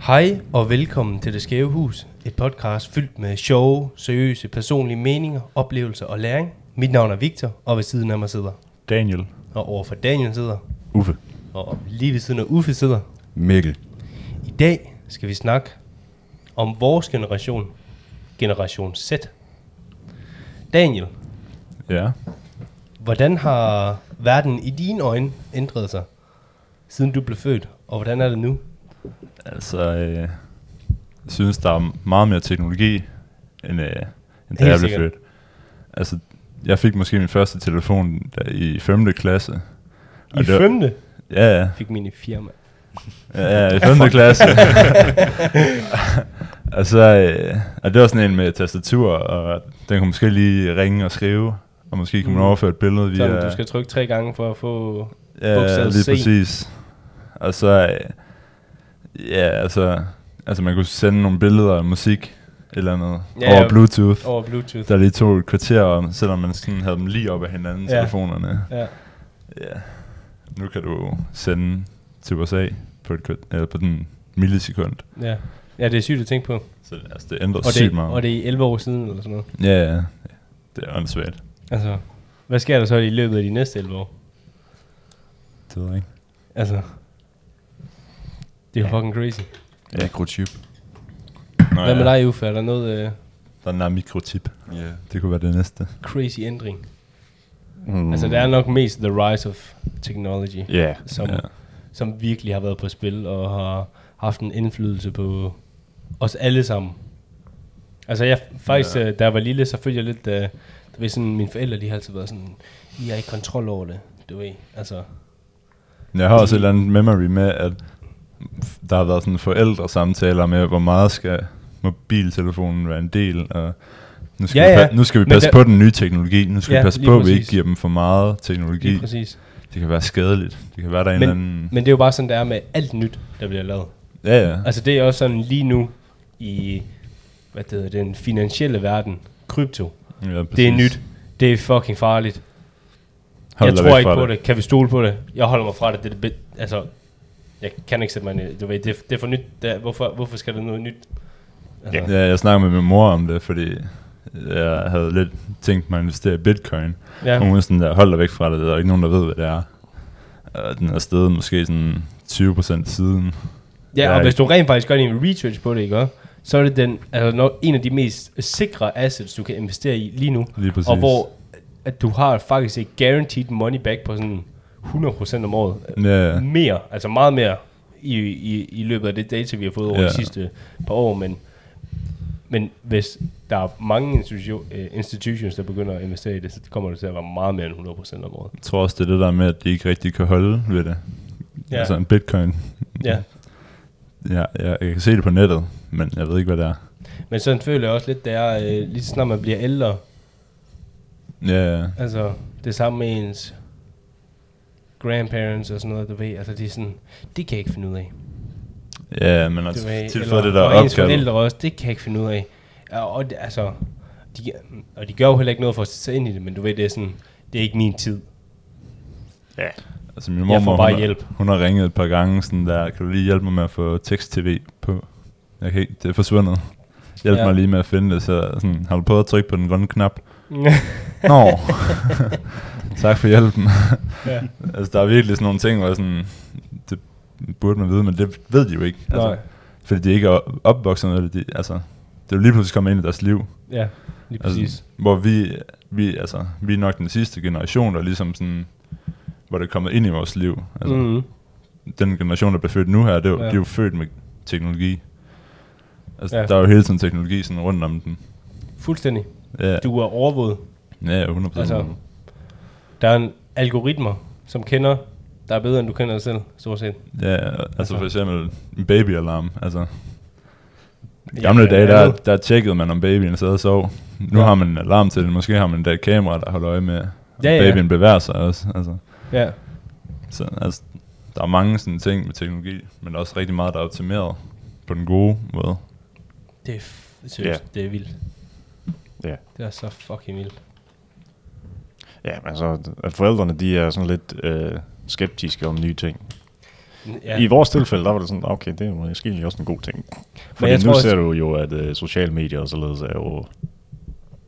Hej og velkommen til Det Skæve Hus, et podcast fyldt med sjove, seriøse, personlige meninger, oplevelser og læring. Mit navn er Victor, og ved siden af mig sidder, Daniel. og overfor Daniel sidder, Uffe. og lige ved siden af Uffe sidder. Mikkel. I dag skal vi snakke om vores generation, generation Z. Daniel, Ja. hvordan har verden i dine øjne ændret sig, siden du blev født, og hvordan er det nu? Altså, øh, jeg synes, der er meget mere teknologi, end, øh, end da Helt jeg blev sikkert. født. Altså, jeg fik måske min første telefon der, i 5. klasse. Og I det var- femte Ja, ja. fik min i firma. Ja, ja, i 5. klasse. og så øh, og det var sådan en med tastatur, og den kunne måske lige ringe og skrive, og måske kunne man Mm. overføre et billede via... Sådan, du skal trykke tre gange for at få Ja, Bogstavet Øh, lige C. præcis. Og så, øh, ja, altså, altså man kunne sende nogle billeder af musik, et eller andet, Ja, ja, over ja. Bluetooth. over Bluetooth. Der lige tog et kvarter om, selvom man sådan havde dem lige op af hinanden, Ja. ja. telefonerne. Ja. Ja. Nu kan du sende til USA på, et, kvart- eller på den millisekund. Ja. ja, det er sygt at tænke på. Og Så altså, det ændrer det, sygt meget. og det er 11 år siden eller sådan noget. Ja, ja. Det er åndssvagt. Altså, hvad sker der så i løbet af de næste 11 år? Det ved jeg ikke. Altså, det er jo fucking crazy. Ja. Mikrochip. Nå, Hvad med ja. dig, Uffe? Er der noget øh, Der er den der mikrotip. Ja. Det kunne være det næste. crazy ændring? Mm. Altså, det er nok mest the rise of technology, Ja. som, Ja. som virkelig har været på spil og har haft en indflydelse på os alle sammen. Altså jeg faktisk, ja. da jeg var lille, så følte jeg lidt, øh, du ved, sådan, mine forældre, de har altid været sådan, I har ikke kontrol over det, du ved. Altså, Men Jeg har også et eller andet memory med, at f- der har været sådan forældresamtaler med, hvor meget skal mobiltelefonen være en del, og nu skal, Ja, ja, ja. ja. Vi, pa- nu skal vi Men passe der- på den nye teknologi, nu skal Ja, vi passe lige på, at vi ikke præcis. giver dem for meget lige teknologi. præcis. Det kan være skadeligt. Det kan være, der er en Men- eller anden... Men det er jo bare sådan, det er med alt nyt, der bliver lavet. Ja, ja. Altså det er også sådan lige nu i, hvad det hedder, det, den finansielle verden, krypto, ja det er præcis. nyt. Det er fucking farligt. Hold jeg dig tror væk ikke fra på det. det. Kan vi stole på det? Jeg holder mig fra det. Det er det bed- altså, jeg kan ikke sætte mig ind i det. Du ved, det, er, det er for nyt. Det er, hvorfor, hvorfor skal der noget nyt? Altså, Ja, jeg snakkede med min mor om det, fordi jeg havde lidt tænkt mig at investere i bitcoin. Ja. Hun var sådan der, hold dig væk fra det, der er ikke nogen, der ved, hvad det er. Og den er steget måske sådan 20% siden. ja, jeg og er hvis du rent faktisk gør din research på det, ikke? også? så er det den, altså, nok en af de mest sikre assets, du kan investere i lige nu. Lige præcis. Og hvor at du har faktisk et guaranteed money back på sådan 100% om året. Ja, mere, altså meget mere i, i, i løbet af det data, vi har fået over Ja. de sidste par år, men, men hvis der er mange institution, øh, institutions, der begynder at investere i det, så kommer det til at være meget mere end 100% om året. jeg tror også, det er det der med, at de ikke rigtig kan holde ved det. Ja. Ja. Altså en bitcoin. Ja. Ja, jeg, jeg kan se det på nettet, men jeg ved ikke, hvad det er. Men sådan føler jeg også lidt, det er, øh, lige så snart man bliver ældre, Ja, ja. altså det samme med ens grandparents og sådan noget, du ved, altså de er sådan, det kan jeg ikke finde ud af. ja, men Du altså, ved, eller- tilføjet det der og ens opkald. forældre også, det kan jeg ikke finde ud af. Og, og det- altså, de, og de gør jo heller ikke noget for at sætte sig ind i det, men du ved, det er sådan, det er ikke min tid. Altså, min får mormor, bare hun, hjælp. Har, hun har ringet et par gange sådan der, kan du lige hjælpe mig med at få tekst-tv på? Jeg kan ikke, det er forsvundet. Hjælp Ja. ja. mig lige med at finde det, så sådan, har du prøvet at trykke på den grønne knap? Nå, tak for hjælpen. Ja. altså, der er virkelig sådan nogle ting, hvor jeg sådan, det burde man vide, men det ved de jo ikke. Altså, Nej. Fordi de ikke er opvokset med det. De, altså, det er jo lige pludselig kommet ind i deres liv. ja, lige præcis. Altså, hvor vi, vi, altså, vi er nok den sidste generation, der ligesom sådan, hvor det er kommet ind i vores liv. Altså, mm. mm. Den generation, der bliver født nu her, det er, jo, Ja. ja. de er jo født med teknologi. Altså, Ja. ja. der er jo hele tiden teknologi sådan rundt om den. Fuldstændig. Ja, Du er overvåget. ja 100%. Altså, Altså, Der er en algoritmer, som kender der er bedre, end du kender dig selv, stort set. ja, altså, altså- altså for eksempel en babyalarm. Altså, I Ja, gamle blandt dage, der, andet. der tjekkede man, om babyen sad og sov. Nu øh, Ja. ja. har man en alarm til den. Måske har man endda et kamera, der holder øje med, om Ja, ja, ja. ja. babyen bevæger sig også. Altså, Ja, så, altså, der er mange sådan ting med teknologi, men der er også rigtig meget, der er optimeret på den gode måde. det er, f- seriøst, det er vildt. Ja. Det er så fucking vildt. Ja, altså, at forældrene, de er sådan lidt øh, skeptiske om nye ting. Ja. I vores tilfælde, der var det sådan, okay, det er måske også en god ting. Fordi jeg nu tror også- ser du jo, at øh, sociale medier og således er jo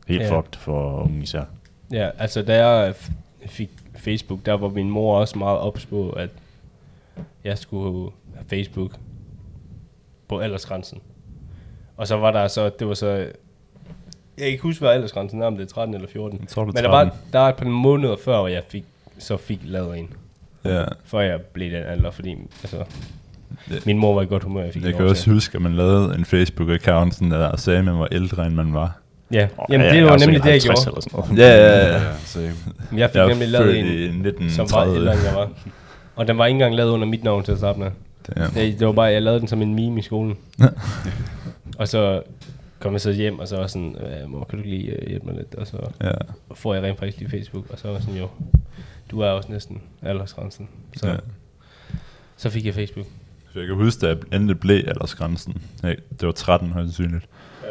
helt Ja. fucked for unge især. Ja, altså da jeg f- fik Facebook, der var min mor også meget ops på, at jeg skulle have Facebook på aldersgrænsen. Og så var der så, det var så, jeg kan ikke huske, hvad aldersgrænsen er, om det er 13 eller 14. Jeg tror, det er Men der var, 13. der var et par måneder før, hvor jeg fik, så fik lavet en. Ja. Før jeg blev den alder, fordi altså, Det- min mor var i godt humør, jeg fik Jeg lov kan til. også huske, at man lavede en Facebook-account, sådan der, og sagde, at man var ældre, end man var. Ja, Og jamen jeg- det jeg var er nemlig det, jeg sikkert 50 gjorde. Eller sådan noget. Ja, ja, ja. så jeg, Jeg fik Jeg nemlig er lavet født en, i som var ældre, end 1930. jeg var. Og den var ikke engang lavet under mit navn til at starte med. Damn. Det, det var bare, jeg lavede den som en meme i skolen. og så kom jeg så hjem, og så var sådan, "Øh, mor, kan du ikke lige øh, hjælpe mig lidt? Og så Ja. får jeg rent faktisk lige Facebook, og så var jeg sådan, jo, du er også næsten aldersgrænsen. Så, Ja. så fik jeg Facebook. For jeg kan huske, da jeg endelig blev aldersgrænsen. Nej, det var 13 højst sandsynligt.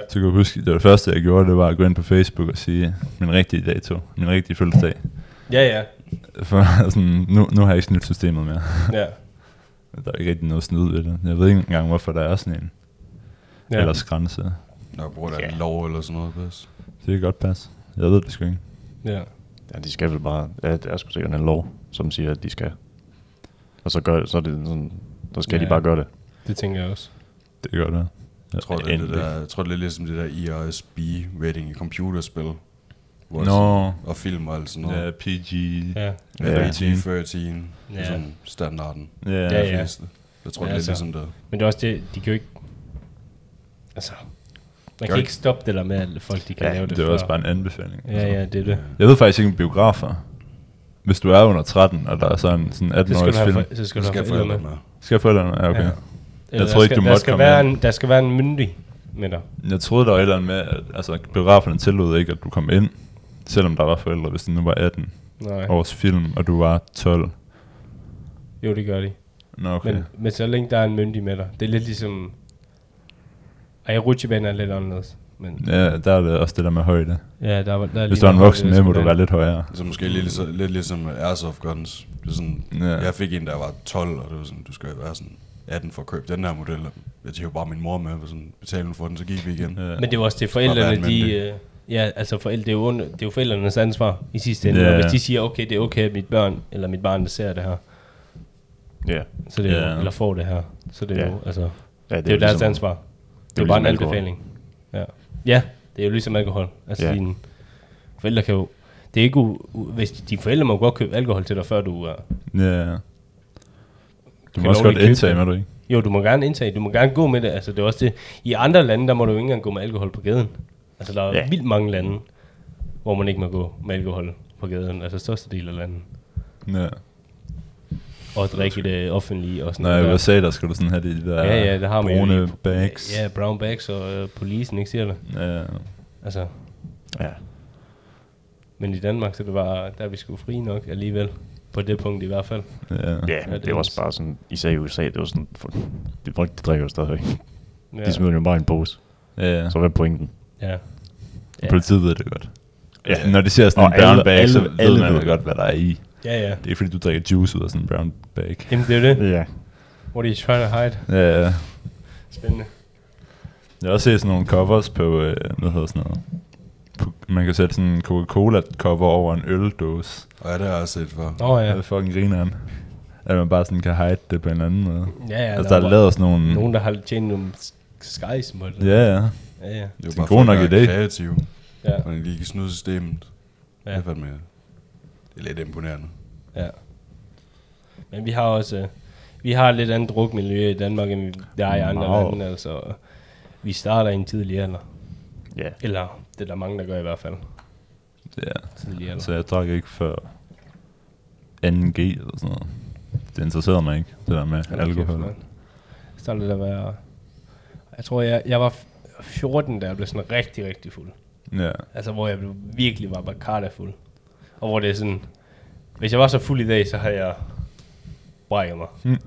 Så kan jeg huske, det var det første, jeg gjorde, det var at gå ind på Facebook og sige min rigtige dato, min rigtige fødselsdag. Ja, ja. For sådan, nu, nu har jeg ikke snydt systemet mere. ja. Der er ikke rigtig noget snyd ved det. Jeg ved ikke engang, hvorfor der er sådan en ja. ja. aldersgrænse. når bruger der Ja. en lov eller sådan noget, pas. Det kan godt passe. Jeg ved det sgu ikke. ja. Ja, de skal vel bare, ja, det er sgu sikkert en lov, som siger, at de skal. Og så gør så er det sådan, så skal Ja. de bare gøre det. Det tænker jeg også. Det kan godt være. Jeg tror, det er det der, jeg tror, det er ligesom det der IRSB-rating i computerspil. Hvor Nå, Og film og alt sådan ja, noget. PG. Ja. Ja, Ja. 13. Det Ja. er sådan standarden. Ja, Ja, Ja, ja. ja. ja. Jeg tror, Ja, det er altså. ligesom det. Men det er også det, de kan jo ikke... Altså, man kan det. ikke stoppe det der med, at folk de kan Ja, lave det Det er også før. bare en anbefaling. Ja, ja, det er det. Jeg ved faktisk ikke om biografer. Hvis du er under 13, og der er sådan, sådan Så skal, du 18-årig have, film, for, så skal Det du have skal forældre med. forældrene med. skal forældrene... Ja, okay. Ja. Ja. Eller tror der ikke, skal, du der måtte skal komme være ind. en, Der skal være en myndig med dig. Jeg troede, der var et eller andet med, at altså, biograferne tillod ikke, at du kom ind, selvom der var forældre, hvis du nu var 18 Nej. års film, og du var 12. Jo, det gør de. Nå, okay. Men, men så længe der er en myndig med dig. Det er lidt ligesom... Ej, rutsjebanen er lidt anderledes. Men Ja, der er det også det der med højde. ja, der, var- der er Hvis lige der er en noget voksen med, må du rutsjebane. være lidt højere. Så måske lidt, ligesom, lidt ligesom Airsoft Guns. Det er sådan, Ja. ja. Jeg fik en, der var 12, og det var sådan, du skal jo være sådan 18 for at købe den her model. Jeg tog bare min mor med, og sådan, betalte hun for den, så gik vi igen. Ja. Ja. Men det er jo også det, Bare være forældrene, en de... myndig. Øh, ja, altså forældre, det, er jo under, det er jo forældrenes ansvar i sidste ende. Ja. Yeah. Og hvis de siger, okay, det er okay, at mit børn eller mit barn, der ser det her, Ja. så det er yeah. Ja. jo, eller får det her, så det er Ja. jo, altså, det Ja, er jo deres ansvar. Det er jo ligesom bare en alkohol. anbefaling. Ja. ja, det er jo ligesom alkohol. Altså, Ja. yeah. dine forældre kan jo... Det er ikke u, u, hvis dine forældre må godt købe alkohol til dig, før du er Ja. Du Kan må lovligt også godt købe indtage det. med, du ikke? Jo, du må gerne indtage, du må gerne gå med det. Altså, det er også det. I andre lande, der må du jo ikke engang gå med alkohol på gaden. Altså, der er ja. Ja. vildt mange lande, hvor man ikke må gå med alkohol på gaden. Altså, største del af landet. Ja. Og drikke i det offentlige og sådan Når jeg noget. i der. USA, der skal du sådan have de der Ja, ja, det har man jo brune lige på- bags. Ja, brown bags og øh, polisen, ikke siger det? Ja. Altså, Ja. men i Danmark, så er det var, der er vi sgu fri nok alligevel. På det punkt i hvert fald. ja. Ja, det det, det er var også også- bare sådan, især i USA, det var sådan, for, de, folk, de drikker jo stadigvæk. Ja. De smider jo bare i en pose. Ja, ja. Så hvad er pointen? ja. Og Politiet ved det godt. Ja. Altså, Når de ser sådan Og en brown alle- bag, så alle- ved alle man ved jo det. godt, hvad der er i. Ja, ja. Det er ikke fordi, du drikker juice ud af sådan en brown bag. Jamen, det er jo det. Ja. What are you trying to hide? Ja, ja. Spændende. Jeg har også set sådan nogle covers på, øh, hvad hedder sådan noget? På, man kan sætte sådan en Coca-Cola-cover over en øldåse. Og ja, det har jeg set for. Åh, oh, Ja. ja. Det er fucking grineren. At man bare sådan kan hide det på en anden måde. Ja, ja. altså, der var- er lavet sådan nogle... Nogen, der har tjent nogle skejs på det. Ja, ja. Ja, ja. Det er Det jo er bare en god folk, nok der er idé. kreative, ja. og de lige kan snyde systemet. Ja. Ja. Det er fandme, det er lidt imponerende. ja. Men vi har også... øh, Vi har et lidt andet drukmiljø i Danmark, end vi- der er i andre Meget. lande. Altså, vi starter i en tidlig alder. Ja. Eller det er der mange, der gør i hvert fald. ja. Tidlig alder. Så jeg drak ikke før 2G eller sådan noget. Det interesserede mig ikke, det der med Hold da kæft, alkohol. mand. Jeg startede at være... Jeg tror, jeg, jeg var f- 14, da jeg blev sådan rigtig, rigtig fuld. ja. Altså, hvor jeg blev, virkelig var Bacarda-fuld. Og hvor det er sådan... Hvis jeg var så fuld i dag, så havde jeg brækket mig.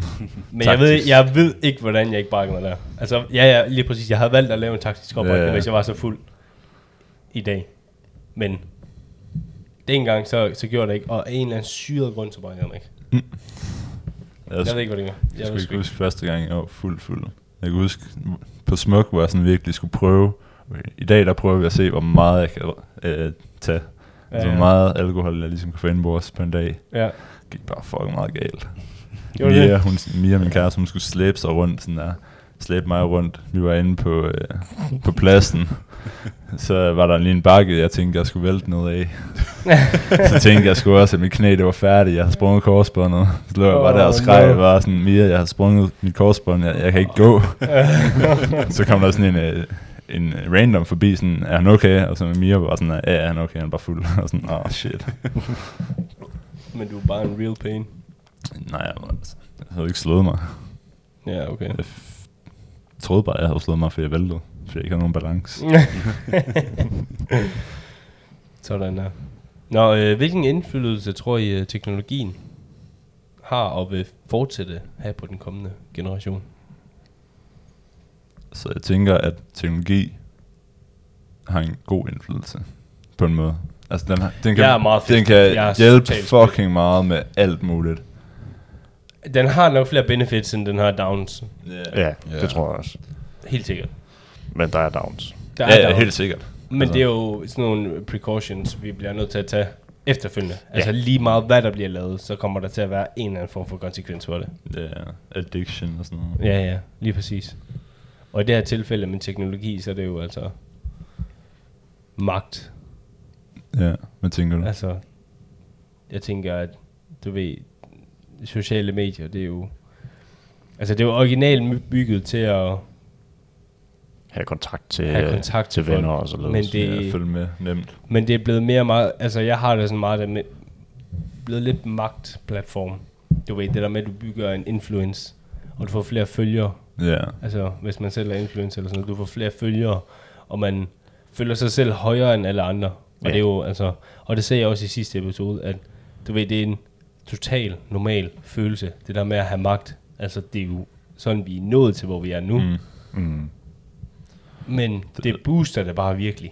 Men jeg ved, Hmm. Taktisk. jeg ved ikke, hvordan jeg ikke brækkede mig der. Altså, ja, ja, lige præcis. Jeg havde valgt at lave en taktisk oprækning, Ja. hvis jeg var så fuld i dag. Men dengang, så, så gjorde jeg det ikke. Og af en eller anden syret grund, så brækkede jeg mig ikke. Jeg, jeg ved ikke, hvad det gør. Jeg Jeg skal ved ikke sgu ikke. huske første gang, jeg var fuld, fuld. Jeg kan huske, på Smuk, hvor jeg sådan virkelig skulle prøve. I dag, der prøver vi at se, hvor meget jeg kan øh, tage. Ja, altså, hvor Ja. meget alkohol, jeg ligesom kan få indbords på en dag. Ja. Det gik bare fucking meget galt. Gjorde det Mia, det? hun, Mia, min kæreste, hun skulle slæbe sig rundt, sådan der. Slæbe mig rundt. Vi var inde på, øh, på pladsen. Så var der lige en bakke, jeg tænkte, jeg skulle vælte noget af. så tænkte jeg sgu også, at mit knæ det var færdigt. Jeg havde sprunget korsbåndet. Så lå jeg bare der og Åh, skreg no. og var sådan, Mia, jeg har sprunget mit korsbånd, jeg, jeg kan ikke gå. så kom der sådan en, øh, en random forbi, sådan, er han okay? Og så Mia var sådan, ja, ja, han er okay, han er bare fuld. Og sådan, åh, oh, shit. Men du er bare en real pain. Nej, men altså, jeg havde jo ikke slået mig. Ja, okay. Jeg f- troede bare, jeg havde slået mig, fordi jeg væltede. Fordi jeg ikke havde nogen balance. Sådan der. Nå, øh, hvilken indflydelse tror I, øh, teknologien har og vil fortsætte have på den kommende generation? Så jeg tænker, at teknologi har en god indflydelse på en måde. Altså, den, har, den kan, Jeg er meget den fedt. kan Jeg er hjælpe totalt fedt. fucking meget med alt muligt. Den har nok flere benefits, end den har downs. Yeah. Ja, Ja. det tror jeg også. Helt sikkert. Men der er downs. Der er Ja, ja, downs. helt sikkert. Men Altså. det er jo sådan nogle precautions, vi bliver nødt til at tage efterfølgende. Altså lige meget hvad der bliver lavet, så kommer der til at være en eller anden form for konsekvens for det. Ja, addiction og sådan noget. Ja, ja, lige præcis. Og i det her tilfælde med teknologi, så er det jo altså magt. Ja, hvad tænker du? Altså, jeg tænker, at du ved, sociale medier, det er jo... Altså, det er jo originalt bygget til at Have kontakt til, have kontakt til folk, venner og så Men det... Ja, det, følge med nemt. Men det er blevet mere meget, altså jeg har det sådan meget, der med, blevet lidt magtplatform. Du ved, det der med, at du bygger en influence, og du får flere følgere. Ja, Altså, hvis man selv er influencer eller sådan noget, du får flere følgere, og man føler sig selv højere end alle andre. Og Ja. det er jo, altså, og det sagde jeg også i sidste episode, at du ved, det er en total normal følelse, det der med at have magt. Altså, det er jo sådan, vi er nået til, hvor vi er nu. Mm. Mm. Men det booster det bare virkelig.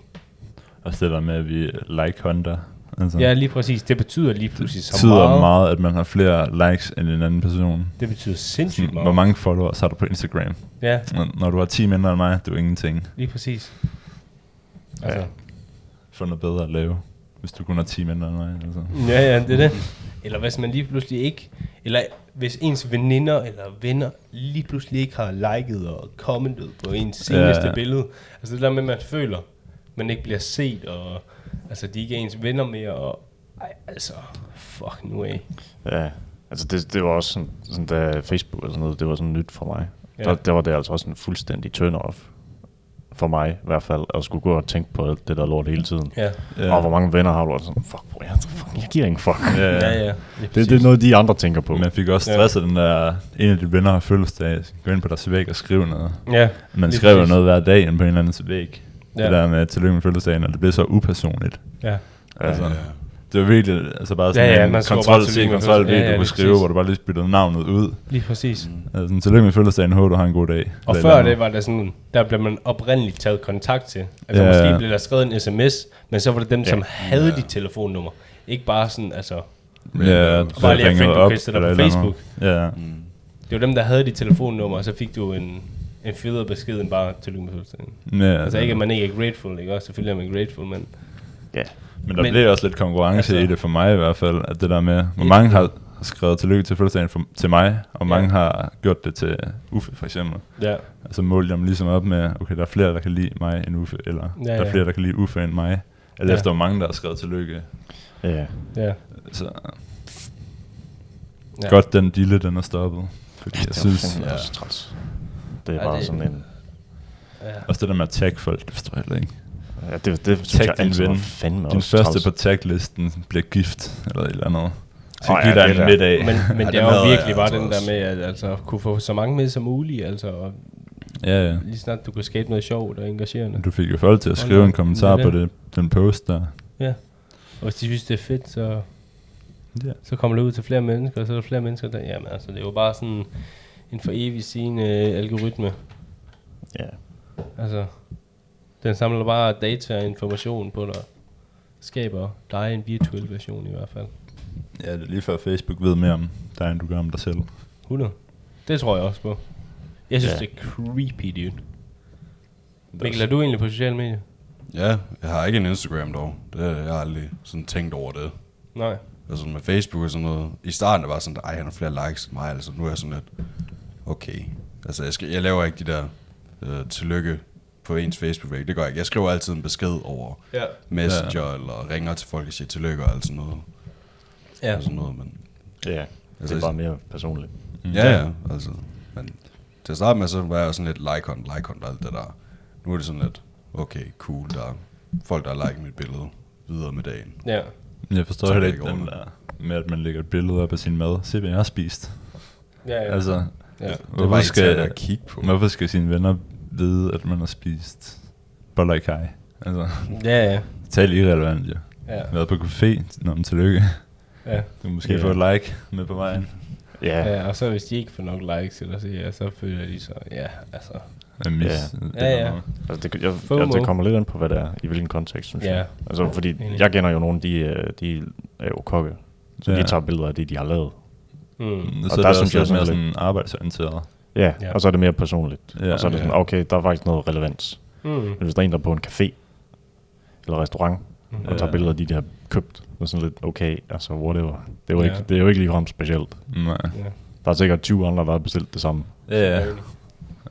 og så det der med, at vi like Honda. Altså, Ja, lige præcis. Det betyder lige pludselig det så betyder meget. meget. meget, at man har flere likes end en anden person. Det betyder sindssygt Hvor meget. mange followers har du på Instagram? Ja, Når- Når du har 10 mindre end mig, du er ingenting. lige præcis. Altså, ja. Få noget bedre at lave, hvis du kun har 10 mindre end mig. Altså. ja, ja, det er det. Eller hvis man lige pludselig ikke, eller hvis ens veninder eller venner lige pludselig ikke har liket og commentet på ens seneste Ja. ja. billede. Altså det der med, at man føler, man ikke bliver set, og altså de ikke er ens venner mere, og ej, altså, fuck nu af. Ja, altså det, det var også sådan, sådan, da Facebook og sådan noget, det var sådan nyt for mig. Ja. Ja. Der, der var det altså også en fuldstændig turn-off. For mig i hvert fald, at skulle gå og tænke på alt det der lort hele tiden. Ja, Ja. Ja. Og hvor mange venner har du? Og sådan, fuck, bro, jeg, fuck, jeg giver ingen fuck. Ja, ja, ja. ja. lige Det, det er præcis. noget, de andre tænker på. Man fik også stresset den der, en af dine venner har fødselsdag, gå ind på deres væg og skrive noget. Ja, Man lige skrev jo præcis. noget hver dag ind på en eller andens væg. Ja. Ja. Det der med tillykke med fødselsdagen, og det blev så upersonligt. Ja. Ja. Altså, det var virkelig altså bare sådan Ja, ja, en man skriver kontrol bare til tillykke med kontrol V, fødselsdagen. Ja, du ja, kunne lige skrive, præcis. hvor du bare lige spyttede navnet ud. Lige præcis. Mm. Altså, sådan, tillykke med fødselsdagen, håber du har en god dag. Og Eller før noget. det var der sådan, der blev man oprindeligt taget kontakt til. Altså Ja. ja. måske blev der skrevet en sms, men så var det dem, ja. som havde Ja. dit telefonnummer. Ikke bare sådan, altså, Ja, Bare så lige at ringede finde, du op, kan sætte dig eller på Mm. et eller andet. Ja, det var dem, der havde dit telefonnummer, og så fik du en, en federe besked end bare tillykke med fødselsdagen. ja. Altså ikke, at man ikke er grateful, ikke også? Selvfølgelig er man grateful, men ja. Men der men, Men- blev også lidt konkurrence altså, Altså- i det for mig i hvert fald, at det der med, hvor Ja. mange har skrevet tillykke til fødselsdagen for, til mig, og mange har gjort det til Uffe for eksempel. ja, Altså målte jeg dem ligesom op med, okay, der er flere, der kan lide mig end Uffe, eller Ja, ja, der er ja. flere, der kan lide Uffe end mig. Eller ja. Ja. efter hvor mange, der har skrevet tillykke. ja. ja. Så ja. Ja. godt, den dille, den er stoppet. Fordi jeg synes, ja. ja. også træls. Det er Ja, bare det- sådan en... ja. også det der med at tagge folk, det forstår jeg heller ikke. Ja, det, det synes Tag jeg din altid var ven. fandme Din også første træls. på taglisten bliver gift, eller et eller andet. Så Åh, oh, ja, giver ja, dig det en der. middag. Men, men Ja, det den er havde jo jeg virkelig bare altså den der også. med, at altså, kunne få så mange med som muligt, altså, og ja, ja. lige snart du kan skabe noget sjovt og engagerende. Du fik jo folk til at skrive en kommentar på det, den post der. Og hvis de synes, det er fedt, så Ja. så kommer det ud til flere mennesker, og så er der flere mennesker, der... Jamen altså, det er jo bare sådan en for evig sigende øh, algoritme. Ja. Altså, den samler bare data og information på dig. Skaber dig en virtuel version i hvert fald. ja, det er lige før Facebook ved mere om dig, end du gør om dig selv. 100. Det tror jeg også på. Jeg synes, ja. Ja. det er creepy, dude. Mikkel, er du egentlig på sociale medier? Ja, jeg har ikke en Instagram dog. Det har jeg aldrig sådan tænkt over det. Nej. Altså med Facebook og sådan noget. I starten var jeg sådan, ej, han har flere likes end mig. Altså nu er jeg sådan lidt, okay. Altså jeg, skal, jeg laver ikke de der øh, tillykke på ens Facebook-væg. Det gør jeg ikke. Jeg skriver altid en besked over Ja. Messenger, ja. eller ringer til folk og siger tillykke og alt sådan noget. Ja. Og sådan noget, men... Ja, det Altså, er bare mere personligt. Ja, ja, altså. Men til at starte med, så var jeg sådan lidt like on, like on og alt det der. Nu er det sådan lidt, okay, cool, der er folk, der har liket mit billede videre med dagen. Ja. Jeg forstår Så heller er det ikke ikke den ordentligt. der med, at man lægger et billede op af sin mad. Se, hvad jeg har spist. Ja, ja. Altså, ja. Det hvorfor var skal skal, at kigge på. hvorfor skal sine venner vide, at man har spist boller i kaj? Altså, Ja, ja. tal irrelevant, jo. Ja, Været på café, når man tillykke. ja. Du måske Ja. yeah. få et like med på vejen. Ja, ja, og så hvis de ikke får nok likes, eller så, ja, så føler de så, ja, altså, Jeg mis, Ja. det Ja, der ja. med. altså det, jeg, FOMO. altså, det kommer lidt an på, hvad det er, i hvilken kontekst, synes Ja. jeg. Altså, fordi Enig. jeg kender jo nogen, de, øh, de er jo kokke, så Ja. de tager billeder af det, de har lavet. mm, Så og Og er der der det synes også jeg lidt mere sådan sådan arbejdsorienteret. Ja, Ja. og så er det mere personligt. Ja. og så er det sådan, Ja. okay, der er faktisk noget relevans. mm, Men hvis der er en, der er på en café eller restaurant, Mhm. og tager Ja. billeder af de, de har købt, så er sådan lidt, okay, altså whatever. Det er jo, Ja. ikke, det er jo ikke ligefrem specielt. Nej. ja. Der er sikkert 20 andre, der har bestilt det samme. Ja, ja. Jeg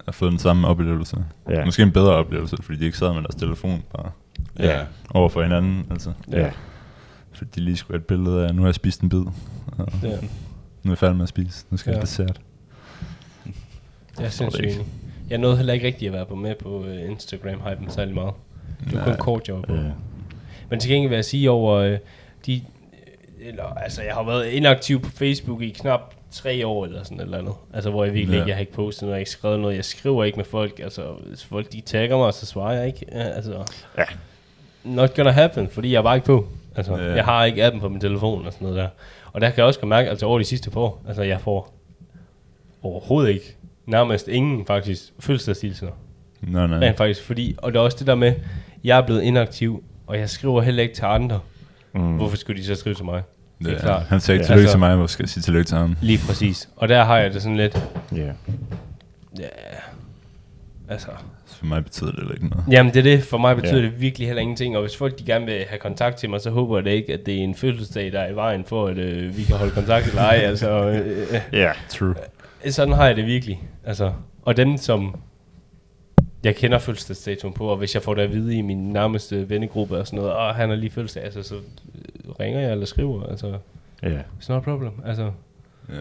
har fået den samme oplevelse. Ja, Ja. Måske en bedre oplevelse, fordi de ikke sad med deres telefon bare Ja. over for hinanden. Altså, ja. fordi de lige skulle have et billede af, nu har jeg spist en bid. Og ja. nu er jeg færdig med at spise. Nu skal jeg Ja. have dessert. Jeg er sindssygt ikke. enig. Jeg nåede heller ikke rigtig at være på med på øh, Instagram-hypen særlig meget. Det var Nej. kun kort, jeg var på. Øh, Men til gengæld vil jeg sige over øh, de... Eller, altså, jeg har været inaktiv på Facebook i knap tre år eller sådan et eller andet. Altså, hvor jeg virkelig Ja. ikke, jeg har ikke postet noget, jeg har ikke skrevet noget, jeg skriver ikke med folk. Altså, hvis folk de tagger mig, så svarer jeg ikke. Ja, altså, Ja. Not gonna happen, fordi jeg er bare ikke på. Altså, Ja. jeg har ikke appen på min telefon og sådan noget der. Og der kan jeg også godt mærke, altså over de sidste par år, altså jeg får overhovedet ikke, nærmest ingen faktisk, fødselsdagshilsener. Nej, nej. Rent faktisk, fordi, og det er også det der med, jeg er blevet inaktiv, og jeg skriver heller ikke til andre. Mm. Hvorfor skulle de så skrive til mig? Det er klart. Han sagde Ja. ikke tillykke Altså- til mig, hvor skal jeg sige tillykke til ham? Lige præcis. Og der har jeg det sådan lidt, ja. ja, altså. Så for mig betyder det heller ikke noget. Jamen det er det, for mig betyder Ja. yeah. det virkelig heller ingenting, og hvis folk de gerne vil have kontakt til mig, så håber jeg da ikke, at det er en fødselsdag, der er i vejen for, at øh, vi kan holde kontakt eller ej, altså. Øh, øh, Ja. True. sådan har jeg det virkelig. Altså, og dem, som jeg kender fødselsdagsdatoen på, og hvis jeg får det at vide i min nærmeste vennegruppe og sådan noget, og han har lige fødselsdag, altså, så øh, ringer jeg eller skriver. Altså, Ja. it's not a problem. Altså, Ja.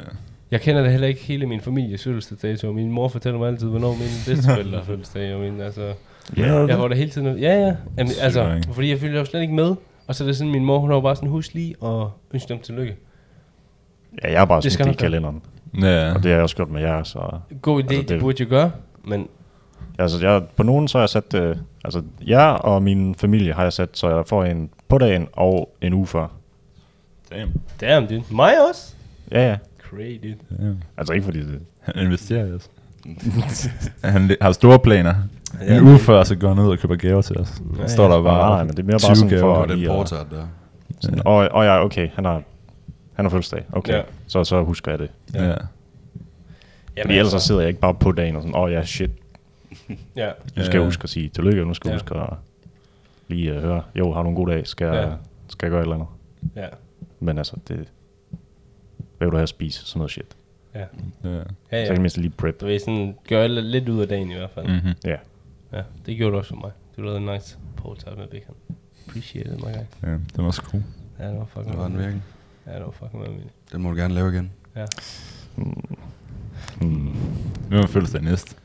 jeg kender det heller ikke hele min families fødselsdagsdato. Min mor fortæller mig altid, hvornår mine bedsteforældre har fødselsdag. Og min, altså, Ja. jeg får det hele tiden. at- Ja, ja. Jamen, Sygt altså, nok. fordi jeg følger jo slet ikke med. Og så er det sådan, min mor, hun har jo bare sådan, husk lige og ønske dem tillykke. Ja, jeg er bare Det skal sådan i nok gøre. kalenderen. Ja. Og det har jeg også gjort med jer, så... God idé, Altså, altså, det det- burde jeg gøre. Men Altså, jeg, på nogen så har jeg sat... Øh, altså, jer og min familie har jeg sat, så jeg får en på dagen og en uge før. Damn. damn, det mig også. Ja, ja. Crazy. dude. Damn. Altså, ikke fordi det... Han investerer i os. han li- har store planer. En uge før, så går han ud og køber gaver til os. Ja, Så står der bare Nej, nej, men det er mere bare 20 sådan Det gaver. for- var den lige at- portræt der. Sådan, og, og ja, okay, han har... Han har fødselsdag. Okay, Ja. ja. så, så husker jeg det. Ja. Ja. Jamen, altså- Fordi ellers så sidder jeg ikke bare på dagen og sådan, åh oh, ja, shit, Ja, nu skal jeg huske at sige tillykke, og nu skal jeg Ja. huske at lige øh, høre, jo, har du en god dag, skal, Ja. jeg, skal jeg gøre et eller andet. ja, Men altså, det... Hvad vil du have at spise? Sådan noget shit. Ja. ja. Ja. ja, Så ja. kan Mhm. jeg mindst lige prep. Du ved, sådan, gør lidt, lidt ud af dagen i hvert fald. Mm. Mm-hmm. Ja. Ja, det gjorde du også for mig. Du lavede en nice portal med bacon. Appreciate it, my guy. ja. Det var sgu. Ja, det var fucking Det var den virkelig. Ja, det var fucking vanvittigt. Den må du gerne lave igen. Ja. Mm. Hvem har fødselsdag næste?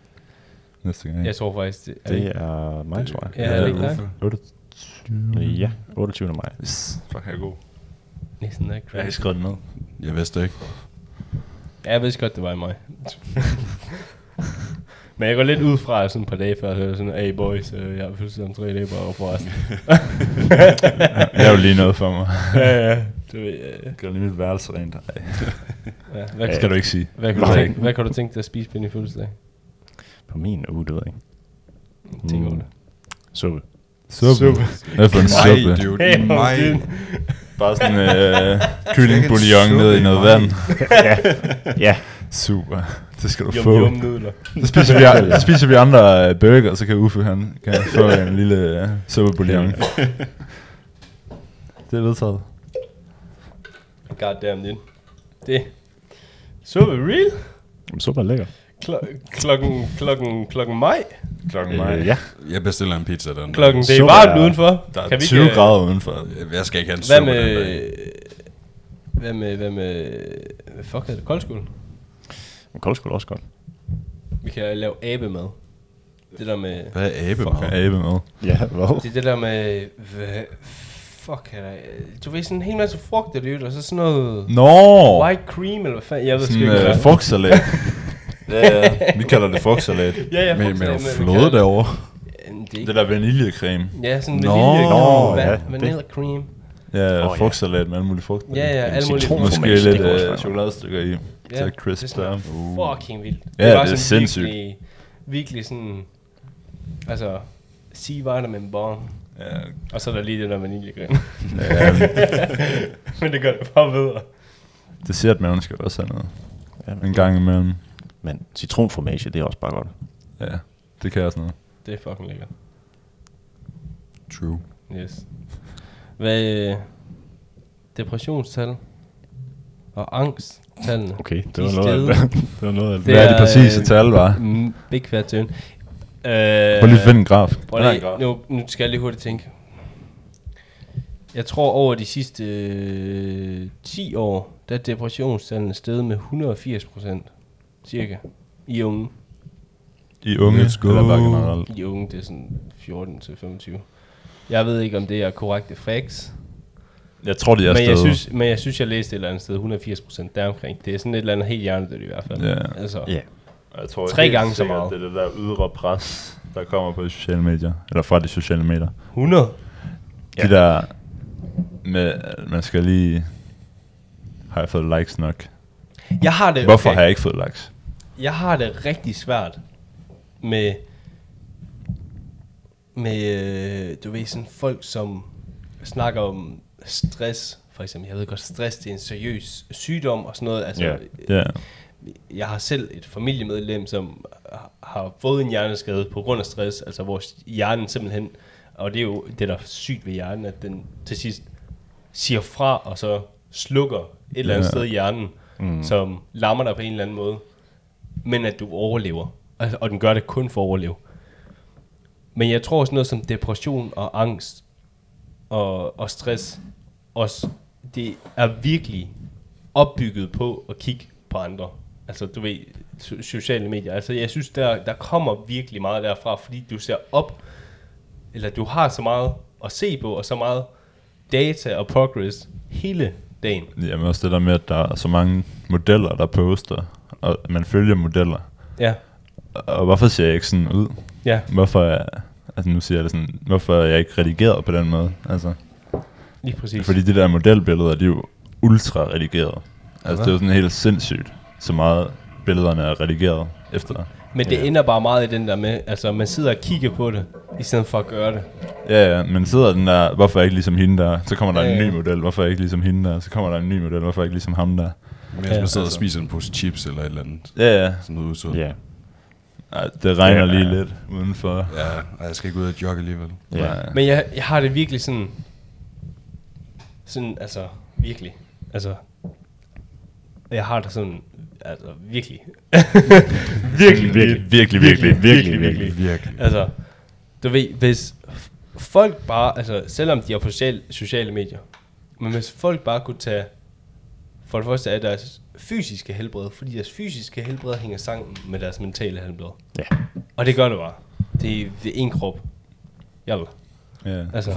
Næste gang. Jeg tror faktisk, det er... Det er mig, tror jeg. Ja, er det ikke Uffe. dig? 28. Mm-hmm. Ja, 28. maj. Yes. Fuck, jeg er god. Næsten er Jeg har crazy. skrevet det ned. Jeg vidste det ikke. Ja, jeg vidste godt, det var i mig. Men jeg går lidt ud fra sådan et par dage før, så er jeg sådan, hey boys, øh, jeg har fødselsdag om tre dage bare forresten. Jeg er jo lige noget for mig. ja, ja. Du ved, øh, Jeg gør lige mit værelse rent. Ej, ja. Hvad, det kan, skal du ikke sige. hvad, kan du tænke, hvad kan du tænke dig at spise på din fødselsdag? På min uge, det ved jeg ikke. Tænk Mm. over det. Suppe. Suppe. Hvad for en Nej, suppe? Mm. dude. Hey, Nej. dude. Bare sådan en øh, Skal ikke en kyllingbouillon suppe ned i i noget mig. vand. ja. ja, Super. Det skal du Yum, få. yum nudler. Så spiser vi, så spiser vi andre øh, burger, så kan Uffe han kan få en lille øh, suppebouillon. Det er vedtaget. God damn det. Det. Så er vi real. Jamen, super lækker. Klo- klokken, klokken, klokken maj. Klokken Øh, ja. Jeg bestiller en pizza den. Klokken, det er Suppe varmt er- udenfor. Der er Kan vi 20 ikke, øh, grader udenfor. Jeg skal ikke have en Hvad suppe den dag. med... Hvad med, hvad med, hvad fuck hedder det, koldskolen? Men kold skulle også godt. Vi kan lave abemad. Det der med, Hvad er abe Fuck, abe med. Ja, hvad? det er det der med, hvad, fuck er det, du ved sådan en hel masse frugt, der lyder, og så sådan noget Nå! white cream, eller hvad fanden, jeg ved sgu Sådan ikke, øh, hvad frugtsalat. ja, vi kalder det frugtsalat. Ja, ja, Med, frugtsalat, men med noget vi flåde kalder det- derovre. Jamen, Det er Det ikke, der vaniljecreme. ja, sådan med Nå, lille nå, ja, van, det- vanilla cream. Ja, Åh, oh, ja. frugtsalat med alle mulige frugt. Ja, ja, alle mulige Citron, frugter. Måske lidt Det kunne også være øh, sjovt. chokoladestykker i. Ja, Så crisp det smager der. Uh, fucking vildt. Ja, var det er sådan sindssygt. Virkelig, virkelig sådan, altså, sea vitamin bomb. Ja, Og så er der lige det der vaniljegrøn. ja, Men det gør det bare bedre. det ser at maven skal også have noget. En gang imellem. Men citronformage, det er også bare godt. Ja, det kan jeg sådan noget. Det er fucking lækkert. True. Yes. Hvad øh, depressionstal og angsttallene. Okay, det De var noget af steder. det. det var noget af Det Det det. Hvad er de er, præcise øh, tal, var? Mm, big fat turn. Øh, Prøv lige at finde en graf. prøv Nej, en lige, nu, nu skal jeg lige hurtigt tænke. Jeg tror over de sidste øh, 10 år, der er depressionstallene steget med 180 procent. Cirka. I unge. I unge, Let's go. eller bare generelt. I unge, det er sådan 14 til 25. Jeg ved ikke, om det er korrekte facts. Jeg tror, de er men, jeg stadig. synes, men jeg synes, jeg læste et eller andet sted 180 procent deromkring. Det er sådan et eller andet helt hjernedødt i hvert fald. Ja. Altså, Ja. jeg tror, Tre helt gange så sikkert, meget. Det det er det der ydre pres, der kommer på de sociale medier. Eller fra de sociale medier. 100. Ja. De der med, at man skal lige... Har jeg fået likes nok? Jeg har det, Hvorfor har jeg ikke fået likes? jeg har det rigtig svært med, med øh, du ved, sådan folk, som snakker om stress, for eksempel. Jeg ved godt, stress det er en seriøs sygdom og sådan noget. Altså, Ja. Ja. jeg har selv et familiemedlem, som har fået en hjerneskade på grund af stress, altså hvor hjernen simpelthen, og det er jo det, der er sygt ved hjernen, at den til sidst siger fra, og så slukker et eller andet Ja. sted i hjernen, mm. som lammer dig på en eller anden måde, men at du overlever, altså, og den gør det kun for at overleve. Men jeg tror sådan noget som depression og angst og, og stress også, det er virkelig opbygget på at kigge på andre. Altså, du ved, so- sociale medier. Altså, jeg synes, der, der kommer virkelig meget derfra, fordi du ser op, eller du har så meget at se på, og så meget data og progress hele dagen. Jamen også det der med, at der er så mange modeller, der poster, og man følger modeller. Ja, Og hvorfor ser jeg ikke sådan ud? ja, Hvorfor er, altså nu siger jeg det sådan, hvorfor er jeg ikke redigeret på den måde? Altså, lige præcis. fordi de der modelbilleder, de er jo ultra redigeret. Altså det er jo sådan helt sindssygt, så meget billederne er redigeret efter. Men det ender bare meget i den der med, altså, man sidder og kigger på det, i stedet for at gøre det. Ja, ja, men sidder den der, hvorfor er jeg ikke ligesom hende der? Så kommer der Mm. Ja, en ny ja. model, hvorfor er jeg ikke ligesom hende der? Så kommer der en ny model, hvorfor er jeg ikke ligesom ham der? Mens Ja, man sidder og altså. spiser en pose chips eller et eller andet. Ja, ja. Sådan noget udsød. Ja. Ej, det regner Ja. lige lidt udenfor. Ja, og jeg skal ikke ud og jogge alligevel. Ja. Nej. Men jeg, jeg har det virkelig sådan... Sådan, altså, virkelig. Altså, jeg har det sådan, altså, virkelig. virkelig, virkelig, virkelig, virkelig, virkelig, Virkelig. Altså, du ved, hvis f- folk bare, altså, selvom de er på social, sociale medier, men hvis folk bare kunne tage, for det første af deres fysiske helbred, fordi deres fysiske helbred hænger sammen med deres mentale helbred. Ja. Og det gør det bare. Det er, det er en krop. Jalla. Ja. Altså,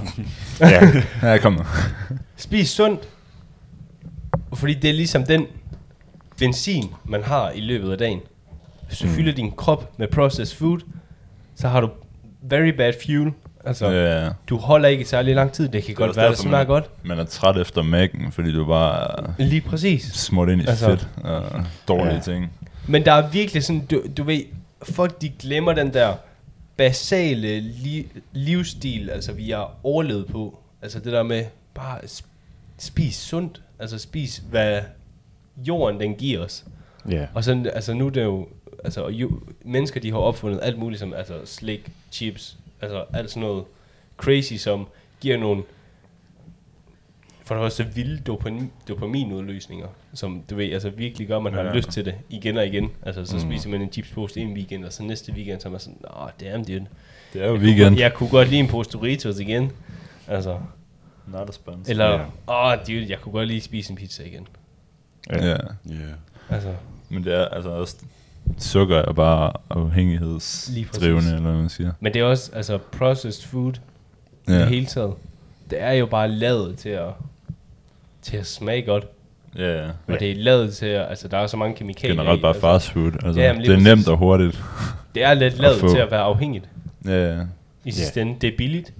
ja. ja, kom nu. Spis sundt. Fordi det er ligesom den benzin, man har i løbet af dagen. Hvis du mm. fylder din krop med processed food, så har du very bad fuel. Altså, yeah. Ja, ja. du holder ikke særlig lang tid. Det kan det godt også være, det derfor, smager man- godt. Man er træt efter mækken, fordi du bare er Lige præcis. smurt ind i altså, Altså- fedt og dårlige ja. Ja. ting. Men der er virkelig sådan, du, du ved, folk de glemmer den der basale li- livsstil, altså vi har overlevet på. Altså det der med bare sp- spis sundt. Altså spis, hvad jorden den giver os. Ja. Og sådan, altså nu er det jo, altså og jo, mennesker de har opfundet alt muligt som, altså slik, chips, altså alt sådan noget crazy, som giver nogle, for det første vilde dopamin, dopaminudløsninger, som du ved, altså virkelig gør, at man har Ja. Mm. lyst til det igen og igen. Altså så spiser man en chipspose en weekend, og så næste weekend, så er man sådan, åh, damn dude. Det er jo weekend. Jeg kunne godt lide en pose Doritos igen. Altså, Not a sponsor. eller, Ja. åh, yeah. oh, dude, jeg kunne godt lige spise en pizza igen. Ja. ja. Yeah. Altså, Men det er altså også... Sukker er bare Lige præcis. afhængighedsdrivende, eller hvad man siger. men det er også, altså, processed food, ja. Ja. det hele taget. Det er jo bare lavet til at, til at smage godt. Ja, ja. Og det er lavet til at, altså der er så mange kemikalier Generelt i, bare altså, fast food. Altså, Jamen, lige det er nemt præcis. og hurtigt. Det er lidt at lavet få. til at være afhængigt ja, ja. i sidste ende. Det er billigt.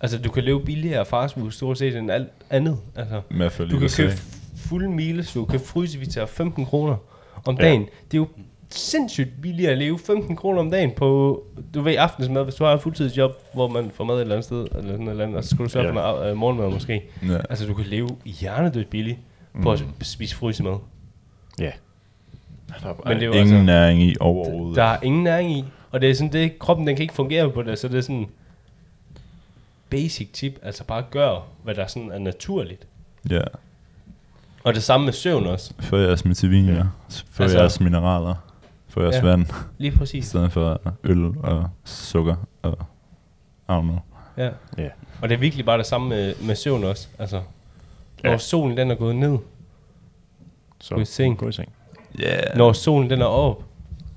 Altså du kan leve billigere af fast food stort set end alt andet. Altså, I hvert fald du i kan USA. købe fulde miles, du kan fryse vi tager 15 kroner om dagen. Det er jo sindssygt billigt at leve 15 kroner om dagen på, du ved, aftensmad, hvis du har et fuldtidsjob, hvor man får mad et eller andet sted, eller sådan et eller andet, og så skal du sørge for Ja. noget øh, morgenmad måske. Ja. Mm. Altså, du kan leve hjernedødt billigt på at spise frysemad. Ja. Men det er jo Ingen altså, næring i overhovedet. der er ingen næring i, og det er sådan det, kroppen den kan ikke fungere på det, så det er sådan basic tip, altså bare gør, hvad der sådan er naturligt. Ja. Og det samme med søvn også, Få jeres vitaminer, få Altså- altså, jeres mineraler, få jeres Ja. ja. vand, lige i præcis. stedet for øl og sukker og... I don't know. Ja. Ja. Og det er virkelig bare det samme med, med søvn også, altså. Når Ja. solen den er gået ned, Så Gå i seng. Gå i seng. Yeah. når solen den er op,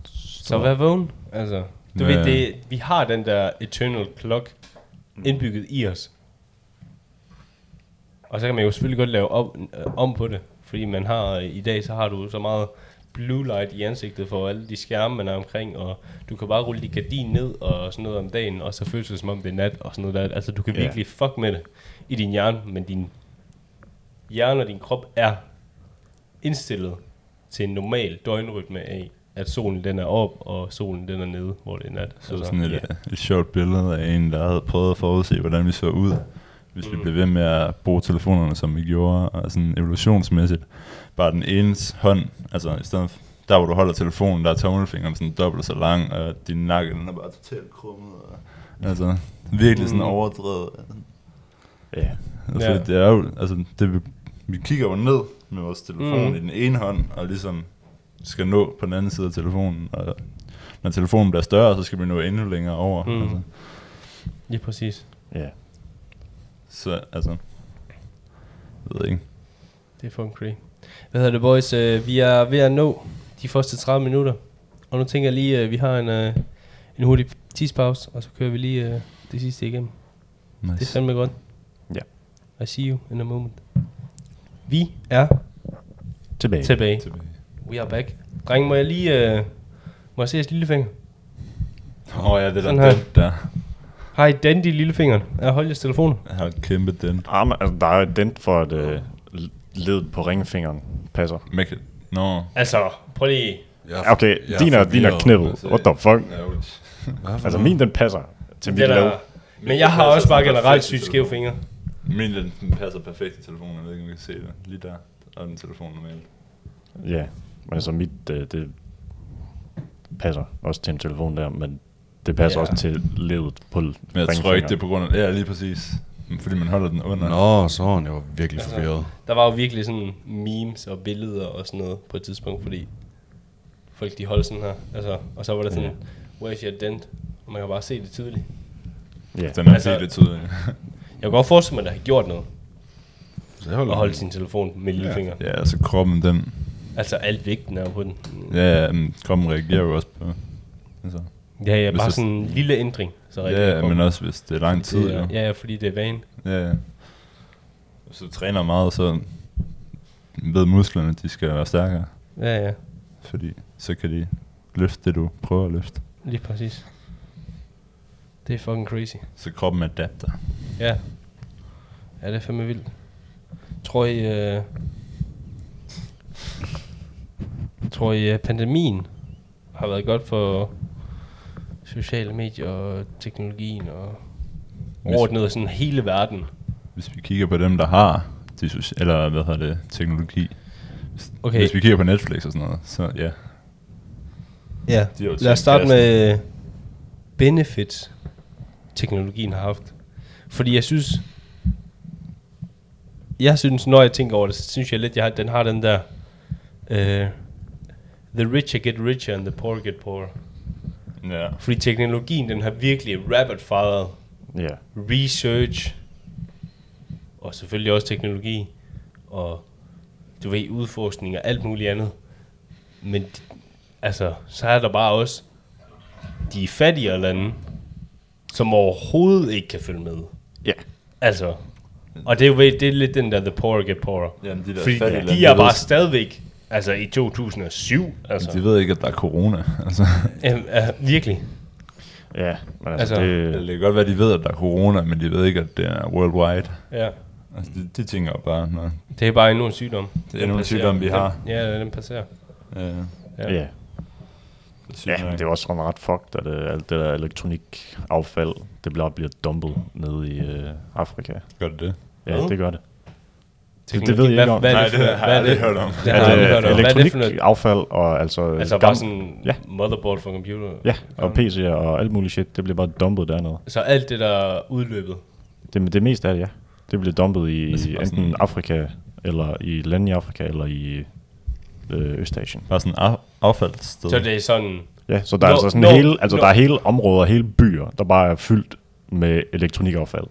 så vær vågen. Altså, du Ja. ved, det, vi har den der eternal clock indbygget i os. Og så kan man jo selvfølgelig godt lave op, øh, om på det. Fordi man har, øh, i dag så har du så meget blue light i ansigtet for alle de skærme, man er omkring, og du kan bare rulle dit gardin ned og sådan noget om dagen, og så føles det som om det er nat og sådan noget der. Altså, du kan Ja. virkelig fuck med det i din hjerne, men din hjerne og din krop er indstillet til en normal døgnrytme af, at solen den er op, og solen den er nede, hvor det er nat. Så altså, sådan et, yeah. et sjovt billede af en, der havde prøvet at forudse, hvordan vi så ud, hvis Mm. vi blev ved med at bruge telefonerne, som vi gjorde, og sådan evolutionsmæssigt. Bare den enes hånd, altså i stedet for, der hvor du holder telefonen, der er tommelfingeren sådan dobbelt så lang, og din nakke, den er bare totalt krummet. Og, altså, virkelig sådan Mm. overdrevet. Ja. Altså, Ja. det er jo, altså, det, vi, vi kigger jo ned med vores telefon Mm. mm. i den ene hånd, og ligesom skal nå på den anden side af telefonen, og når telefonen bliver større, så skal vi nå endnu længere over. Mm. Mm. Altså. Lige præcis. Ja. Så, altså, jeg ved ikke. Det er fucking crazy. Hvad hedder det, boys? Øh, vi er ved at nå de første 30 minutter. Og nu tænker jeg lige, at vi har en, øh, en hurtig tidspause, og så kører vi lige øh, det sidste igennem. Det er Nice. fandme godt. Ja. I see you in a moment. Vi er Tilbage. tilbage. Tilbage. We are back. Drenge, må jeg lige... Øh, må jeg se jeres lillefinger? Åh oh, ja, det er Sådan der her. dent der. Har I dent i lillefingeren? Er hold jeres telefon? Jeg har et kæmpe dent. Arme, altså, der er jo et dent for, at øh, ledet på ringfingeren passer. Mæk. Nå. Altså, prøv lige... Jeg Ja, Okay, din er, jeg din er forvirret. knippet. altså, What the fuck? Ærgerligt. Hvad for Altså, noget? min den passer til mit Den lav. er, men jeg har passer også bare sådan generelt perfekt i sygt skæve telefonen. fingre. Min den, den passer perfekt til telefonen, jeg ved ikke, om I kan se det. Lige der. Og den telefon normalt. Ja, men altså mit, øh, det passer også til en telefon der, men det passer Ja. ja. også til ledet på Men jeg tror ikke, det er på grund af... Ja, lige præcis. Fordi man holder den under. Nå, sådan. Jeg var virkelig Altså, forvirret. Der var jo virkelig sådan memes og billeder og sådan noget på et tidspunkt, fordi folk de holdt sådan her. Altså, og så var der sådan, where's your dent? Og man kan bare se det tydeligt. Ja. Den er Altså- altså, helt tydeligt. Jeg kan godt forestille mig, at der har gjort noget Så jeg holder og holdt sin telefon med lillefinger. ja, altså kroppen, den... Altså alt vægten er jo på den. Ja, men kroppen reagerer jo også på... Altså, Ja, ja, Hvis bare det- sådan en lille ændring. Så rigtig ja, men også hvis det er lang tid, jo. Ja, ja, fordi det er vane. Ja, ja. Hvis du træner meget, så ved musklerne, de skal være stærkere. Ja, ja, Fordi så kan de løfte det, du prøver at løfte. lige præcis. Det er fucking crazy. Så kroppen adapter. Ja. Ja, det er fandme vildt. Tror I... Øh, tror I, øh, pandemien har været godt for sociale medier og teknologien og Hvis- ordnet sådan hele verden? Hvis vi kigger på dem, der har de socia- eller hvad hedder det, teknologi, Okay. Hvis vi kigger på Netflix og sådan noget, så ja. Ja, De har jo lad tænkt os starte kassen. med benefits, teknologien har haft. Fordi jeg synes, jeg synes, når jeg tænker over det, så synes jeg lidt, jeg har, den har den der, øh, the richer get richer and the poor get poorer. Ja. Fordi teknologien, den har virkelig rapid fired Ja. research, og selvfølgelig også teknologi, og du ved, udforskning og alt muligt andet. Men altså, så er der bare også de fattigere lande, som overhovedet ikke kan følge med. Ja. Altså, og det er, jo ved- det er lidt den der, the poor get poorer. Jamen, de der Fordi fattige lande, de er de ved- bare stadigvæk, altså i 2007, altså, De ved ikke, at der er corona. Altså, Øhm, øh, virkelig. Ja, men Altså, altså, altså det det, kan godt være, at de ved, at der er corona, men de ved ikke, at det er worldwide. Ja. Altså, de, de tænker jo bare, når Det er bare endnu en sygdom. det er Den endnu en passerer. sygdom, vi Den- har. Ja, den passerer. Øh, Ja. ja. ja. Ja, men det er også sådan ret fucked, at øh, alt det der elektronikaffald, det bare bliver dumpet ned i øh, Afrika. Gør det det? Ja, Hvad? det gør det. Teknologi. Det ved jeg Hvad- ikke om. Hvad er Nej, det, for, det har hvad jeg er det? aldrig hørt om. Det har At, jeg øh, aldrig hørt om. Hvad er det for noget? elektronikaffald og altså... Altså gam- bare sådan Ja. motherboard for computer. Ja, og PC'er og alt muligt shit, det bliver bare dumpet dernede. Så alt det, der er udløbet. Det, det meste af det, ja. Det bliver dumpet i Altså bare enten sådan- Afrika, eller i lande i Afrika, eller i øh, Østasien. Bare sådan af, affaldssted. Så det er sådan... Ja, så der er Nå, altså sådan nå, hele, altså nå. der er hele områder, hele byer, der bare er fyldt med elektronikaffald.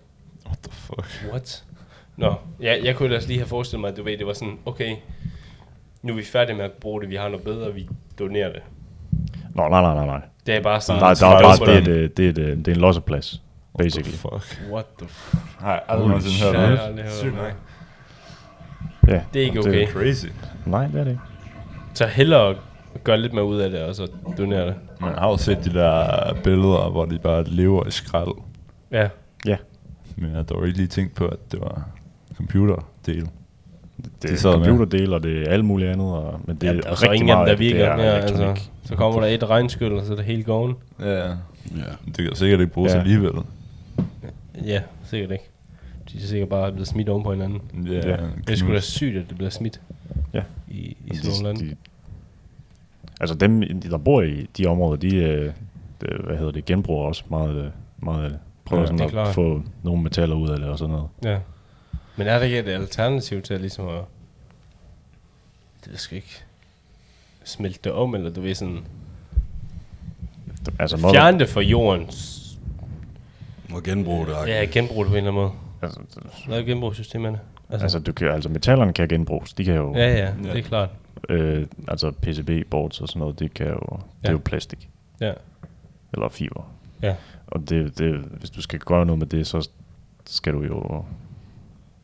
What the fuck? What? Nå, ja, jeg kunne ellers lige have forestillet mig, at du ved, det var sådan, okay, nu er vi færdige med at bruge det, vi har noget bedre, vi donerer det. Nå, nej, nej, nej, nej. Det er bare sådan... Der, der, så der, er dumper bare, det, den. er, det, det, er, det, det er en losseplads, basically. Fuck. What the fuck? Nej, Holy aldrig nogensinde hørt shit, jeg har om aldrig det. hørt Sygt om nok. det. Ja, Det er ikke og okay. Crazy. Nej, det er det ikke. Så hellere gøre lidt mere ud af det, og så donere det. Man har jo set de der billeder, hvor de bare lever i skrald. Ja. Ja. Men jeg har dog ikke lige tænkt på, at det var computerdel. Det De er sad med. computerdel, og det er alt muligt andet, og, men det ja, altså, der er er så rigtig ingen af dem, meget, der virker. det Ja, er altså, elektronik. så kommer der et regnskyld, og så er det hele gården. Ja. Ja. Det kan sikkert ikke bruges Ja. ja. alligevel. Ja, sikkert ikke. De er sikkert bare blevet smidt oven på hinanden. Ja, Ja. Det er sgu da sygt, at det bliver smidt Ja. i, i Men sådan nogle lande. de, altså dem, i- der bor i de områder, de, øh, det, hvad hedder det, genbruger også meget, øh, meget af det. Prøver Ja, sådan det er at klart. få nogle metaller ud af det og sådan noget. Ja. Men er der ikke et alternativ til at ligesom at... Det ved jeg sgu ikke. Smelte det om, eller du ved sådan... Altså, noget, Fjerne det fra jorden. Må genbruge det. agtigt. Ja, genbrug det på en eller anden måde. altså, Lav genbrugssystemerne. Altså, altså, du kan, altså metallerne kan genbruges, de kan jo, ja, ja, Ja. det er klart. øh, altså PCB boards og sådan noget, det kan jo, det Ja. er jo plastik Ja. eller fiber. Ja. Og det, det, hvis du skal gøre noget med det, så skal du jo,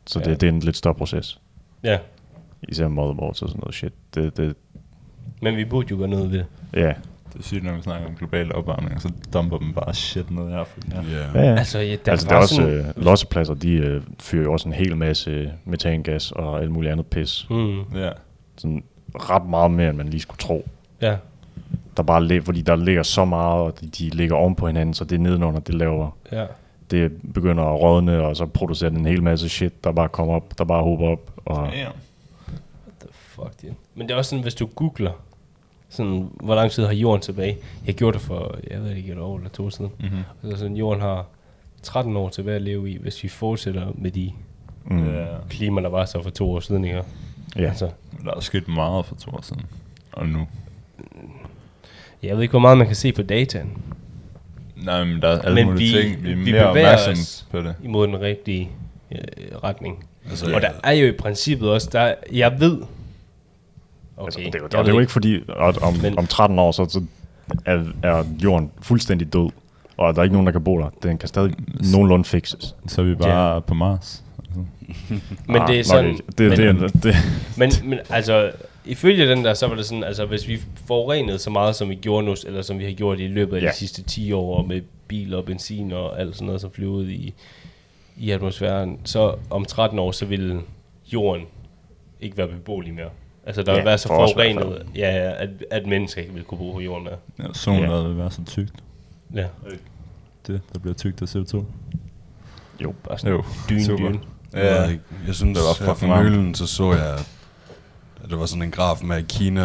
så det, Ja. det er en lidt større proces. Ja. Især motherboards og sådan noget shit. Det, det, Men vi burde jo gøre noget ved det. ja, Det er sygt, når vi snakker om global opvarmning, og så dumper dem bare shit ned i Afrika. ja, Ja. ja. Altså, ja, Der der altså, altså, der er var også sådan... øh, lossepladser, de øh, fyrer jo også en hel masse metangas og alt muligt andet pis. Mm, Ja. Sådan ret meget mere, end man lige skulle tro. ja. Der bare lig- fordi der ligger så meget, og de, de ligger oven på hinanden, så det nedenunder, det laver. Ja. Det begynder at rådne, og så producerer den en hel masse shit, der bare kommer op, der bare hober op. Og, ja. What the fuck, det Men det er også sådan, hvis du googler, sådan, hvor lang tid har jorden tilbage. Jeg gjorde det for, jeg ved ikke, et år eller to siden. Mm-hmm. Altså sådan, jorden har 13 år tilbage at leve i, hvis vi fortsætter med de mm, yeah. ja. klima, der var så for to år siden, ikke? ja. Altså, Der er sket meget for to år siden. Og nu. jeg ved ikke, hvor meget man kan se på dataen Nej, men der er alle Men men mulige vi- vi, ting. Vi er vi vi bevæger mere opmærksomme os. på det. imod den rigtige øh, retning. Altså, Og der er jo i princippet også, der, jeg ved, Altså, okay, det, er jeg jo- og det er ved jo ikke fordi, at om, Men- om 13 år, så, så er, er jorden fuldstændig død, og der er ikke nogen, der kan bo der. Den kan stadig nogenlunde fixes. Så er vi bare på Mars. men Ah, det er nok sådan, ikke. Det, men, det, det, det, Men, men altså, ifølge den der, så var det sådan, altså hvis vi forurenede så meget, som vi gjorde nu, eller som vi har gjort i løbet af ja. Ja. de sidste 10 år, og med biler og benzin og alt sådan noget, som flyver ud i, i atmosfæren, så om 13 år, så ville jorden ikke være beboelig mere. Altså der ja, Ja, ville være så for os i hvert forurenet, ja, ja, at, at mennesker ikke ville kunne bruge jorden mere. Ja, solen Ja. yeah. vil være så tykt. Ja, Det, der bliver tykt af CO2. jo, bare sådan Jo. dyne, super. dyne. Jeg, ved ikke. jeg synes, Det var at for for varmt. nylen, så så jeg, at at det var sådan en graf med, at Kina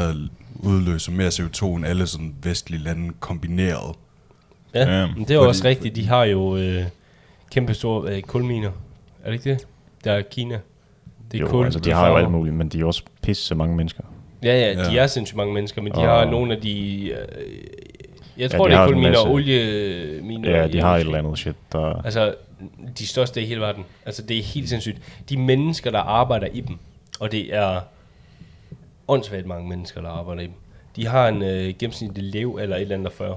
udløser mere CO2 end alle sådan vestlige lande kombineret. Ja, Ja, ja men det er jo fordi- også rigtigt. De har jo øh, kæmpe store øh, kulminer. Er det ikke det? Der er Kina. Det er jo, kul. altså, det de er har jo farver. alt muligt, men de er jo også pisse så mange mennesker. Ja, ja, de Ja. er sindssygt mange mennesker, men de Og- har nogle af de... Øh, jeg Ja, tror, ja, de det har er en kulminer masse- og olieminer. Ja, i- de har et eller andet shit, der... Altså, de største i hele verden. Altså, det er helt sindssygt. De mennesker, der arbejder i dem, og det er åndssvagt mange mennesker, der arbejder i dem, de har en øh, gennemsnitlig lev eller et eller andet af 40.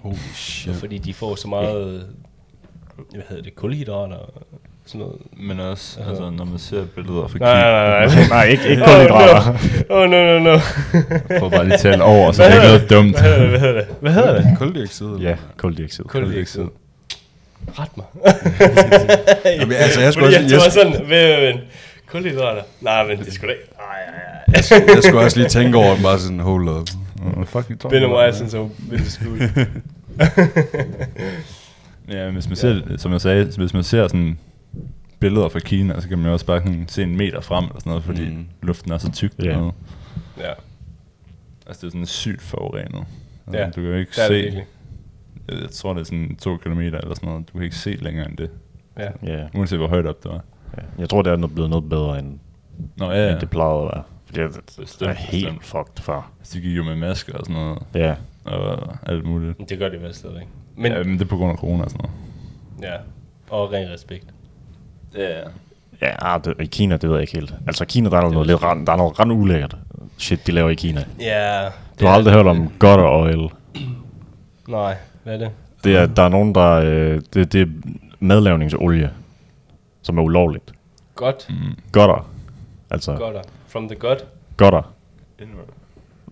Holy Ja. shit. Fordi de får så meget, hvad hedder det, kulhydrater og sådan noget. Men også, altså, når man ser billeder fra Nej, nej, nej, nej. Øh, altså, Nej, ikke, ikke kulhydrater. Åh, oh, no, no, no. Prøv bare lige at tale over, så det er ikke noget dumt. Hvad hedder det? Hvad hedder det? Hvad hedder det? Koldioxid? eller Ja, hvad? koldioxid. Koldioxid. Ret mig. Jamen, altså, jeg skulle Fordi jeg også... jeg- tror sådan, vent, vent, vent. Kulhydrater. Nej, men det skulle da ikke. Ej, ej, ej. jeg skulle også lige tænke over den, bare sådan, hold up. Oh, fuck, jeg tror, Been a while since I've been to school. Ja, hvis man ser, som jeg sagde, hvis man ser sådan billeder fra Kina, så kan man jo også bare sådan se en meter frem eller sådan noget, fordi Mm. mm. luften er så tyk Ja. dernede. ja, Altså det er sådan sygt forurenet. Altså, Ja, du kan jo ikke det er det se, virkelig. jeg, jeg tror det er sådan to kilometer eller sådan noget, du kan ikke se længere end det, Ja. Ja, uanset hvor højt op det var. ja. Jeg tror, det er noget- blevet noget bedre, end, Nå ja, end ja. det plejede at være. Fordi jeg, det Bestemt, er helt bestemt. fucked før. Altså, de gik jo med masker og sådan noget, Ja, og alt muligt. Men Det gør det vel stadigvæk. Men, Men, ja, men det er på grund af corona og sådan noget. ja. Og ren respekt. Ja, ja ah, det, i Kina, det ved jeg ikke helt. Altså i Kina, der er, jo noget, lidt, ret- der er noget ret ulækkert shit, de laver i Kina. Ja. Du har aldrig hørt om gutter oil. Nej, hvad er det? Det er, der er nogen, der... Øh, det, det er madlavningsolie, som er ulovligt. Godt. Gutter. Altså, Godt. From the godt. gutter.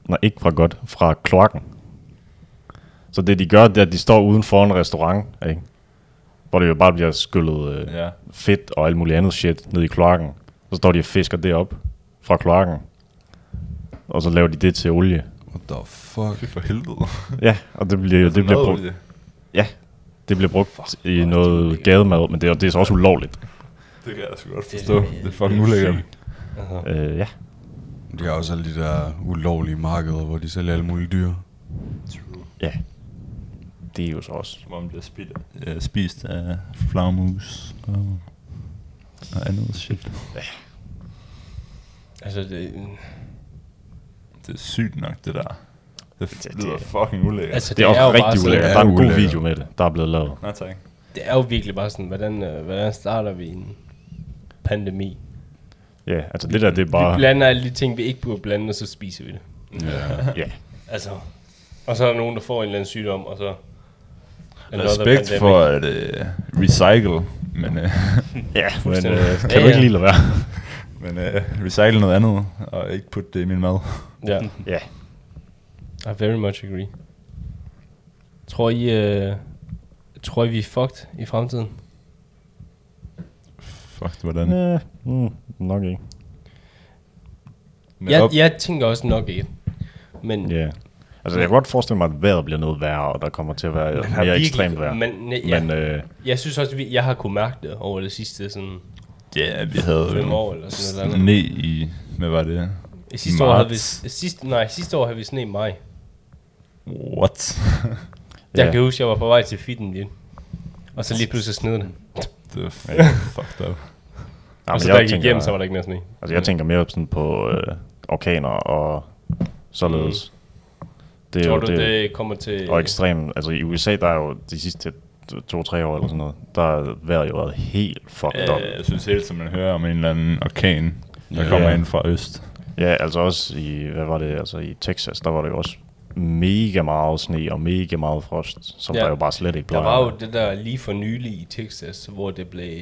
Nej, ikke fra godt. Fra kloakken. Så det, de gør, det er, at de står uden for en restaurant, ikke? Hvor det jo bare bliver skyllet øh, Ja. fedt og alt muligt andet shit ned i kloakken. Så står de og fisker det op fra kloakken. Og så laver de det til olie. What the fuck? for helvede. Ja, og det bliver, det bliver brugt. Ja, det bliver brugt i noget gademad, men det er, det er så også ulovligt. Det kan jeg sgu godt er- forstå. Det er fucking ulækkert. Øh, ja. De har også alle de der ulovlige markeder, hvor de sælger alle mulige dyr. Ja. Det er jo så også. Som om det bliver spist, øh, spist af flagmus og, og andet shit. Altså, det, Det er sygt nok, det der. Det, det- det lyder fucking ulækkert. altså, Det er, det er jo også bare rigtig sådan- ulækkert. Ja, Der er en god ulækkert. video med det, der er blevet lavet. Nej tak. Det er jo virkelig bare sådan, hvordan, øh, hvordan starter vi en pandemi? Ja, altså det der, det er Bare. Vi bare... blander alle de ting, vi ikke burde blande, og så spiser vi det. Ja. Ja, Altså, og så er der nogen, der får en eller anden sygdom, og så... another Respekt pandemic. for at øh, recycle, men, øh, ja men fuldstændig. øh, Ja, kan du ikke ja. lige lade være? men øh, recycle noget andet, og ikke putte det i min mad. Ja, Ja. I very much agree. Tror I, øh, tror I vi er fucked i fremtiden? Fuck, hvordan? Øh, mm, nok ikke. Men Jeg, op- jeg tænker også nok ikke. Men Ja. Altså jeg kan godt forestille mig, at vejret bliver noget værre, og der kommer til at være har mere virkelig- ekstremt vejr. Men, Men, ne, ja, men øh, jeg synes også, at jeg har kunne mærke det over det sidste sådan... Ja, vi havde Fem jo år eller sådan noget sne i, hvad var det? I Sidste år, havde vi, Marts. sidste, nej, sidste år havde vi sne i maj. What? Jeg Ja. kan huske, jeg var på vej til fitten lige. Og så lige pludselig snede det. det var fucking fucked up. nej, og men så da jeg gik tænker- hjem, så var der Altså, ikke mere sne. Altså, jeg tænker mere sådan på øh, orkaner og således. Det Mm. Tror du, er, jo- det kommer til... Og ekstrem, altså i USA, der er jo de sidste to-tre år eller sådan noget, der har vejret jo været helt fucked up. Øh, jeg synes helt, som man hører om en eller anden orkan, der Ja. kommer ind fra øst. Ja, altså også i, hvad var det, altså i Texas, der var det jo også mega meget sne og mega meget frost, som Ja. ja. der jo bare slet ikke Der plejer. var at jo det der lige for nylig i Texas, hvor det blev...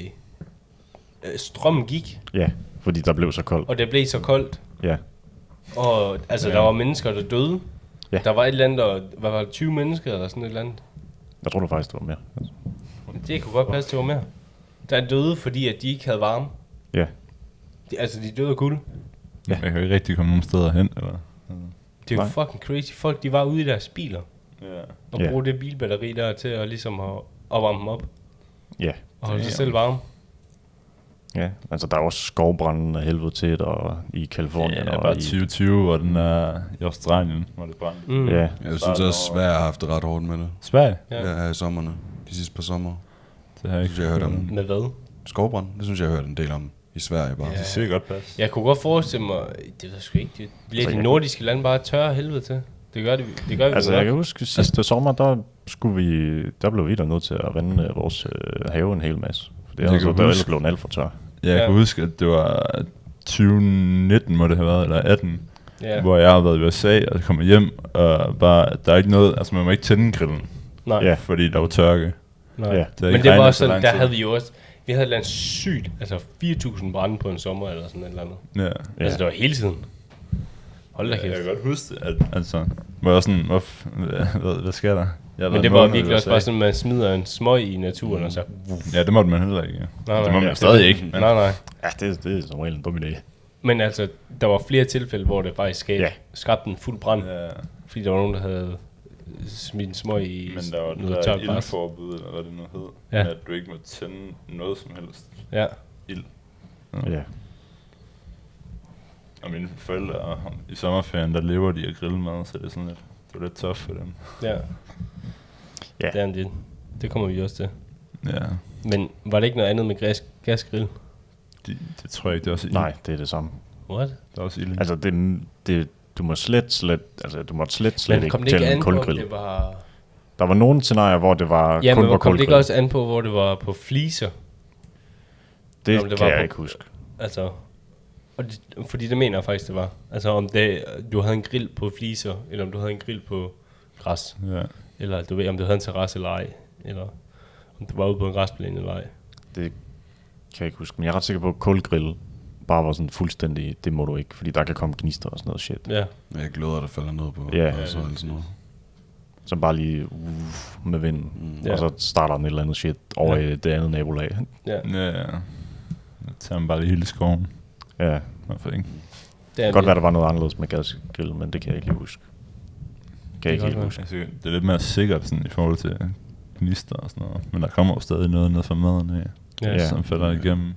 Øh, strømmen gik, være. Ja, fordi der blev så koldt. og det blev så koldt. Ja, Og altså, der var mennesker, der døde. Ja. Der var et eller andet, der, hvad var det, 20 mennesker eller sådan et eller andet. jeg tror det faktisk, det var mere. Det kunne godt passe, det var mere. Der døde, fordi at de ikke havde varme. Ja, De, altså, de døde af kulde. Ja. Jeg kan jo ikke rigtig komme nogen steder hen, eller? Det er jo Nej. fucking crazy. Folk, de var ude i deres biler. Ja. Og Ja. bruge det bilbatteri der til at ligesom at, at varme dem op. ja. Og holde sig selv varme. Ja, altså der er også skovbranden af helvede til, og i Kalifornien. Ja, og bare i, 2020, og den er i Australien, hvor det brændte. Mm. Ja, Jeg synes også, Sverige har haft det ret hårdt med det. Sverige? Ja. Ja. her i sommerne. De sidste par sommer. Det har jeg ikke Det synes jeg, jeg har hørt om. Med hvad? Skovbrand, det synes jeg, jeg har hørt en del om i Sverige bare. Ja. Det ser godt pas. Jeg kunne godt forestille mig, det ved jeg sgu ikke, det bliver Altså, de jeg- nordiske lande bare tørre af helvede til. Det gør det, det gør vi Altså, vel jeg kan nok. huske sidste sommer, der, skulle vi, der blev vi da nødt til at vande øh, vores øh, have en hel masse. For det Jeg er altså, kan der huske- ellers blevet alt for tør. Ja, jeg Ja. kan huske, at det var 2019, må det have været, eller 18, Ja. hvor jeg har været i USA og kommer hjem, og bare, der er ikke noget, altså man må ikke tænde grillen, Nej, Ja. fordi der var tørke. nej. Ja. har Men ikke det var regnet også så sådan, lang der tid. havde vi jo også, vi havde et eller andet sygt, altså 4.000 brænde på en sommer eller sådan et eller andet. Ja. Ja. Altså det var hele tiden. Hold da Jeg kæft. kan godt huske det, at, altså, hvor jeg var sådan, hvor, f- hvad, hvad, hvad sker der? Jeg har været Men det en var måned i virkelig også USA. bare sådan, at man smider en smøg i naturen, og så... Ja, det måtte man heller ikke. ja. Nej, det nej, må ja, man stadig ikke. Nej, nej. Ja, det, det er som regel en dum idé. Men altså, der var flere tilfælde, hvor det faktisk skabte, Ja. skabte en fuld brand, Ja, fordi der var nogen, der havde smidt en smøg i men der var noget noget der tørt bars. ildforbud, eller hvad det nu hed, Ja. ja. at du ikke må tænde noget som helst. Ja. Ja. Og mine forældre, i sommerferien, der lever de af grillmad, så det er sådan lidt, det var lidt tough for dem. Ja. Ja. Det er en del. Det kommer vi også til. Ja, Men var det ikke noget andet med gas, gasgrill? de, det tror jeg ikke, det er også ild. Nej, det er det samme. What? Det er også ild. Altså, det, det, du må slet, slet, altså, du må slet, slet Men ikke kom det ikke tænde an en på, om kulgrill. det var... Der var nogle scenarier, hvor det var Ja, men kun var hvor kom det kulgrill. ikke også an på, hvor det var på fliser? det, om det kan var jeg på- ikke huske. Altså, og det, fordi det mener jeg faktisk, det var. Altså, om det, du havde en grill på fliser, eller om du havde en grill på græs. Ja. Eller du ved, om du havde en terrasse eller ej. Eller om du var ude på en græsplæne eller ej. Det kan jeg ikke huske, men jeg er ret sikker på, at kulgrill bare var sådan fuldstændig, det må du ikke, fordi der kan komme gnister og sådan noget shit. Ja, Jeg glæder, der falder ned på. Ja. og så, eller sådan noget. Som bare lige uff, med vinden, mm, Ja. og så starter den et eller andet shit over Ja. i det andet nabolag. ja. Ja, ja. Jeg tager man bare lige hele skoven. ja, Hvorfor ikke? Det det er kan godt være, der var noget anderledes med gasgrill, men det kan jeg ikke lige huske. Kan jeg ikke kan helt godt huske. Altså, det er lidt mere sikkert sådan, i forhold til gnister og sådan noget. Men der kommer jo stadig noget ned fra maden af, Ja. ja. Ja. som falder igennem.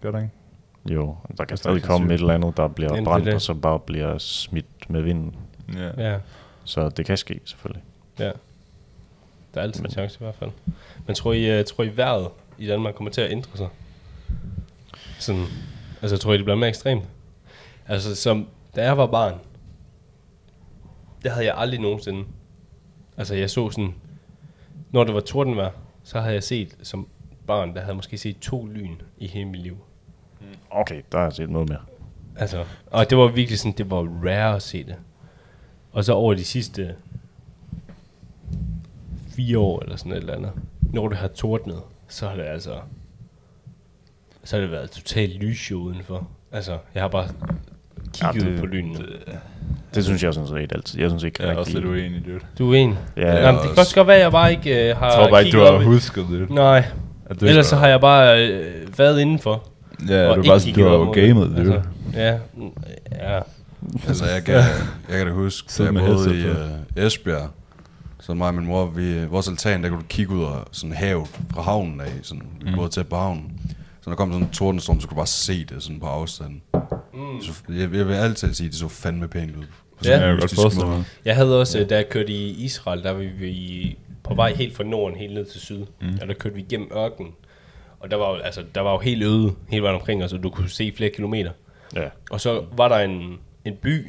Gør det ikke? Jo, der kan er stadig faktisk komme et sygt. eller andet, der Jamen, bliver det er brændt, det. og så bare bliver smidt med vinden. Ja. Ja. ja. Så det kan ske, selvfølgelig. Ja. Der er altid en Men- chance i hvert fald. Men tror I, uh, tror I vejret i Danmark kommer til at ændre sig? Sådan, altså tror I, det bliver mere ekstremt? Altså, som, da jeg var barn, der havde jeg aldrig nogensinde... Altså, jeg så sådan... Når det var tordenvejr, så havde jeg set som barn, der havde måske set to lyn i hele mit liv. Okay, der er set noget mere. Altså, og det var virkelig sådan, det var rare at se det. Og så over de sidste fire år eller sådan et eller andet, når det har tordnet, så har det altså, så har det været totalt lysshow udenfor. Altså, jeg har bare kigget Ja, ja, det- på lynene. Det synes jeg sådan set altid. Jeg synes ikke Jeg er også rigtig... lidt uenig, dude. Du er en. Ja, Ja, Jamen, det kan godt godt være, at jeg bare ikke øh, har Jeg tror bare ikke, du kigget op har i- husket det. Nej, At ellers så har jeg bare øh, været indenfor. Ja, og du, ikke bare, sådan, du kigget har op jo mod- gamet, dude. Altså, ja, mm, ja. Altså, jeg kan, jeg kan da huske, da Sidde jeg med boede i headset øh, Esbjerg, så mig og min mor, vi, vores altan, der kunne du kigge ud af sådan havet fra havnen af, sådan, Mm. vi boede tæt på havnen. Så når der kom sådan en tordenstorm, så kunne du bare se det sådan på afstand. Mm. Så, jeg, jeg, vil altid sige, at det så fandme pænt ud. På sådan Ja. Ja, jeg en kan godt mystisk forestille måde. mig. Jeg havde også, øh, da jeg kørte i Israel, der var vi på vej helt fra Norden, helt ned til syd. Mm. Og der kørte vi igennem ørkenen. Og der var, jo, altså, der var jo helt øde hele vejen omkring os, og du kunne se flere kilometer. Ja. Og så var der en, en by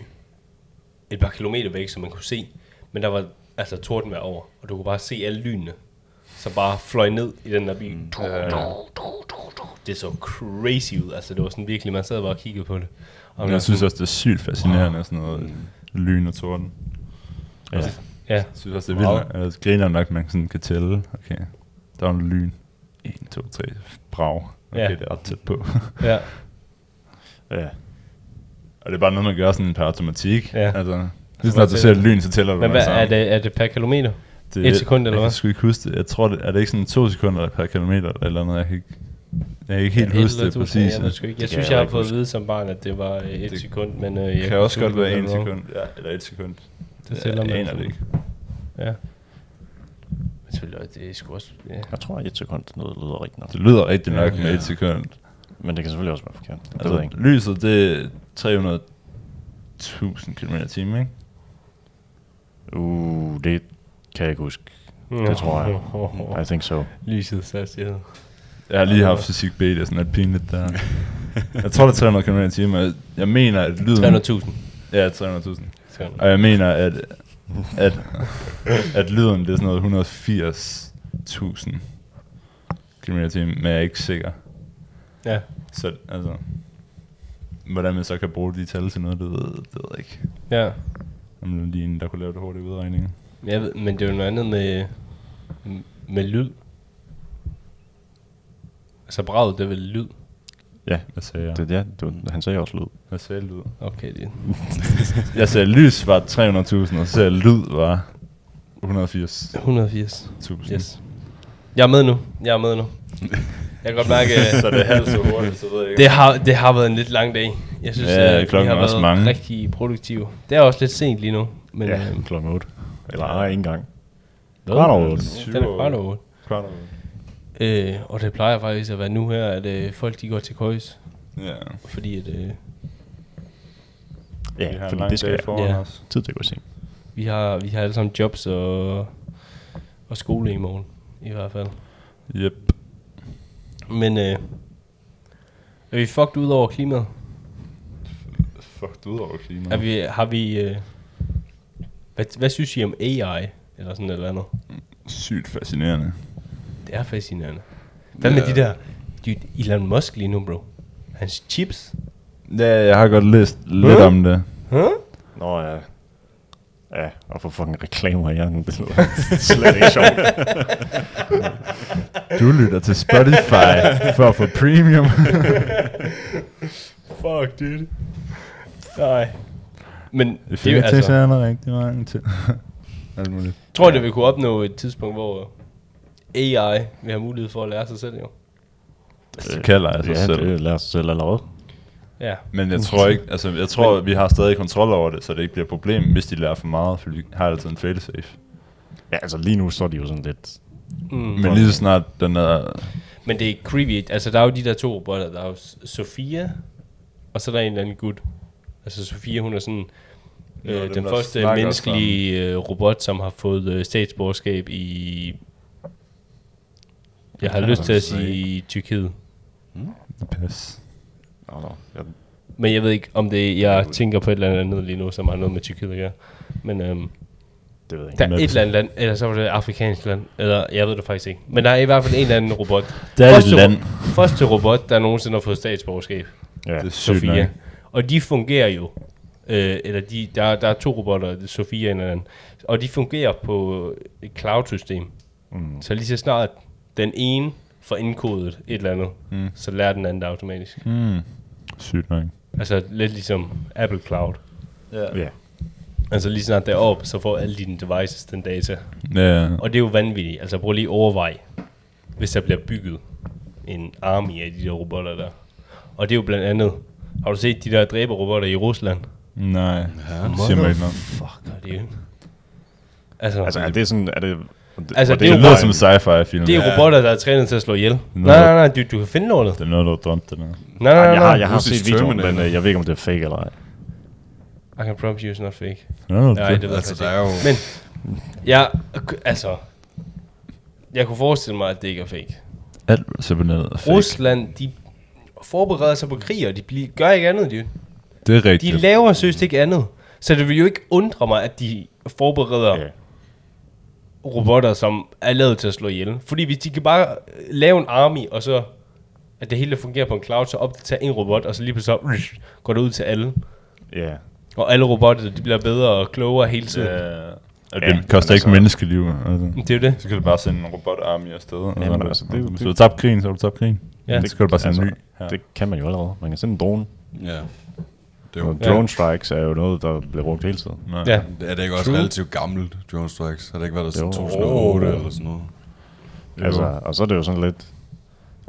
et par kilometer væk, som man kunne se. Men der var altså tordenvejr over, og du kunne bare se alle lynene, som bare fløj ned i den der by. Mm, Det så crazy ud. Altså, det var sådan virkelig, man sad bare og kiggede på det. Og Men man- jeg synes også, det er sygt fascinerende, sådan noget lyn og torden. Altså, ja. ja. Jeg synes også, det er vildt. Wow. Jeg griner nok, man sådan kan tælle. Okay, der er en lyn. 1, 2, 3, brav. Okay, Ja. det er ret tæt på. ja. ja. og det er bare noget, man gør sådan per automatik. Ja. Altså, lige snart du ser et lyn, så tæller du Men med hvad, sammen. er, det, er det per kilometer? et sekund, eller jeg, hvad? Jeg skulle ikke huske det. Jeg tror, det, er det ikke sådan to sekunder per kilometer eller noget? Jeg kan ikke, jeg kan ikke helt huske det præcis. Jeg, ved sgu ikke. jeg Det kan synes, jeg jeg har ikke fået at huske. vide som barn, at det var øh, et Det sekund, men øh, Det kan også godt være tydeligt en være wrong. sekund. Ja, eller et sekund. Det tæller jeg man. aner det ikke. Ja. Men selvfølgelig, det er sgu også... Ja. Jeg tror, at et sekund noget lyder rigtigt nok. Det lyder rigtigt nok Ja. med et sekund. Men det kan selvfølgelig også være forkert. Det ved jeg Altså, ikke. lyset, det er 300.000 km i timen, ikke? Uh, det kan jeg ikke huske. Det tror jeg. jeg. I think so. Lysets hastighed. Jeg har lige haft fysik B, det er sådan lidt pinligt der. jeg tror, det er 300 km i timen. og jeg- Jeg mener, at lyden... 300.000. Ja, 300.000. 300. Og jeg mener, at, at, at lyden, det er sådan noget 180.000 km i timen, men jeg er ikke sikker. Ja. Så altså, hvordan man så kan bruge de tal til noget, det ved, det ved jeg ikke. Ja. Om det er lige en, der kunne lave det hurtige udregninger. Men Jeg ved, men det er jo noget andet med, med lyd. Altså braget, det er vel lyd. Ja, Hvad sagde jeg? det, ja du, han sagde også lyd. Hvad sagde lyd? Okay, det Jeg sagde, lys var 300.000, og så sagde jeg, lyd var 180.000. 180. Yes. Jeg er med nu. Jeg er med nu. Jeg kan godt mærke, at Så det er halvt så hurtigt, så ved jeg ikke. det har, det har været en lidt lang dag. Jeg synes, Ja, at vi klokken har er også været mange. rigtig produktive. Det er også lidt sent lige nu. Men, Ja, øh, øhm, klokken 8. Eller nej, ikke engang. hvad? Kvart over otte. Den er kvart over otte. Kvart over. Øh, og det plejer faktisk at være nu her, at øh, folk de går til køjs. Ja. Fordi at, øh, Vi Ja, har en fordi lang det skal dag jeg. foran Ja. os. Tid til at gå i seng. vi, har, vi har alle sammen jobs og, og skole i morgen. I hvert fald. Yep. Men øh, er vi fucked ud over klimaet? Fuck, du ud over klimaet. Er vi, har vi... Øh, hvad, hvad synes I om AI? Eller sådan et eller andet. Sygt fascinerende. Det er fascinerende. Hvad med Ja. de der... Dude, Elon Musk lige nu, bro. Hans chips. Ja, jeg har godt læst lidt Huh? om det. Huh? Nå ja. Ja, og for fucking reklamer i hjernen, det lyder slet ikke sjovt. Du lytter til Spotify for at få premium. Fuck, dude. Nej. Men Det det er jo, findes altså. altså, er der rigtig mange til. Alt muligt. tror du, vi kunne opnå et tidspunkt, hvor AI vil have mulighed for at lære sig selv, jo? Det kalder jeg sig ja, selv. det lærer sig selv allerede. Ja. Men jeg tror ikke, altså jeg tror, vi har stadig kontrol over det, så det ikke bliver et problem, hvis de lærer for meget, for de har altid en failsafe. Ja, altså lige nu så er de jo sådan lidt... Mm. Men lige så snart den er, Men det er creepy. Altså, der er jo de der to robotter. Der er jo S- Sofia, og så er der en eller anden gut. Altså, Sofia, hun er sådan... Ja, Øh, dem, den der første snakker menneskelige øh, robot, som har fået øh, statsborgerskab i... Jeg har Ja, lyst til at det ved jeg sige Tyrkiet. pas. Nå, nå. Jeg, Men jeg ved ikke, om det er, jeg tænker på et eller andet lige nu, som har noget med Tyrkiet at gøre. Men øhm, det ved jeg der ikke. er et eller andet land, eller så var det et afrikansk land, eller jeg ved det faktisk ikke. Men der er i hvert fald en eller anden robot. Det er et Første ro- land. Første robot, der nogensinde har fået statsborgerskab. Ja. Det er sygt nok. Sofia. Og de fungerer jo. Øh, eller de, der, der er to robotter, det er Sofia og en eller anden. Og de fungerer på et cloud-system. Mm. Så lige så snart den ene får indkodet et eller andet, mm. så lærer den anden det automatisk. Mm. Mm. Sygt nok. Altså lidt ligesom Apple Cloud. Ja. Altså lige snart derop, så får alle dine devices den data. Ja, Og det er jo vanvittigt. Altså prøv lige at overveje, hvis der bliver bygget en army af de der robotter der. Og det er jo blandt andet, har du set de der dræberrobotter i Rusland? nej. Det siger mig ikke noget. Fuck, er det jo. Altså, Altså altså, er det sådan... Er det, og det, Altså, og det er Det jo lyder bare- som en sci-fi film. det er robotter, der er trænet til at slå ihjel. Nej, nej, nej, du, du kan finde lortet. Det er noget, du har drømt, det der. Nej, nej, Ej, nej. jeg har, jeg har Russisk set videoen, men Terminator. øh, jeg ved ikke, om det er fake eller ej. I can promise you it's not fake. Det er noget, du Nej, det ved jeg Altså, faktisk der er jo... ikke. Men, jeg, altså, jeg kunne forestille mig, at det ikke er fake. Alt er simpelthen er fake. Rusland, de forbereder sig på krig, og de bli- gør ikke andet, dude. Det er De rigtigt. laver søst ikke andet. Så det vil jo ikke undre mig, at de forbereder Ja. robotter, som er lavet til at slå ihjel. Fordi hvis de kan bare øh, lave en army, og så at det hele fungerer på en cloud, så opdaterer en robot, og så lige pludselig så, rysh, går det ud til alle. Ja. Og alle robotter, de bliver bedre og klogere hele tiden. Ja. Øh, og Ja, det koster men ikke altså- menneskeliv. Altså. Det er jo det. Så kan du bare sende en robotarmy afsted. men eller- altså, det er jo- Hvis du har tabt krigen, så har du tabt krigen. Ja. Ja. Så kan du bare sende en ny. altså, Det kan man jo allerede. Man kan sende en drone. Ja. Det er, Og jo, drone strikes er jo noget, der bliver brugt hele tiden. Nej. Ja. er det ikke også relativt gammelt, Drone Strikes? Har det ikke været der siden Jo. 2008 eller sådan noget? Altså, og så er det jo sådan lidt...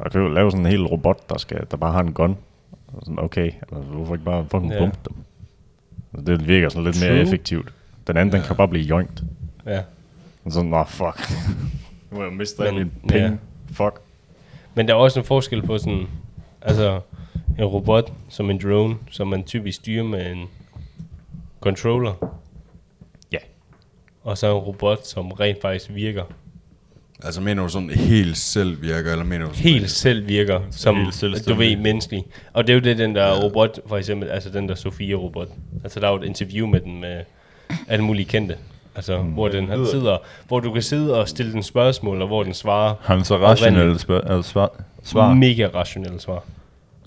Jeg kan jo lave sådan en hel robot, der, skal, der bare har en gun. Og sådan, okay, altså, hvorfor ikke bare fucking Ja. yeah. pumpe dem? Altså, det virker sådan lidt mere True. effektivt. Den anden, yeah. den kan bare blive joinkt. ja. Og sådan, nå, fuck. nu må jeg miste alle Men- mine penge. ja. Fuck. Men der er også en forskel på sådan, Altså en robot som en drone, som man typisk styrer med en controller, Ja. og så en robot, som rent faktisk virker. Altså mener du sådan helt selv virker, eller mener du sådan, Helt selv virker, som Helt du selvstændig. ved, menneskelig. Og det er jo det, den der ja. robot, for eksempel, altså den der Sofia-robot. Altså der er jo et interview med den med alle mulige kendte. Altså, mm. hvor den her sidder, hvor du kan sidde og stille den spørgsmål, og hvor den svarer. Har den så Oprindeligt. rationelle spørg- altså svar? svar? Mega rationelle svar.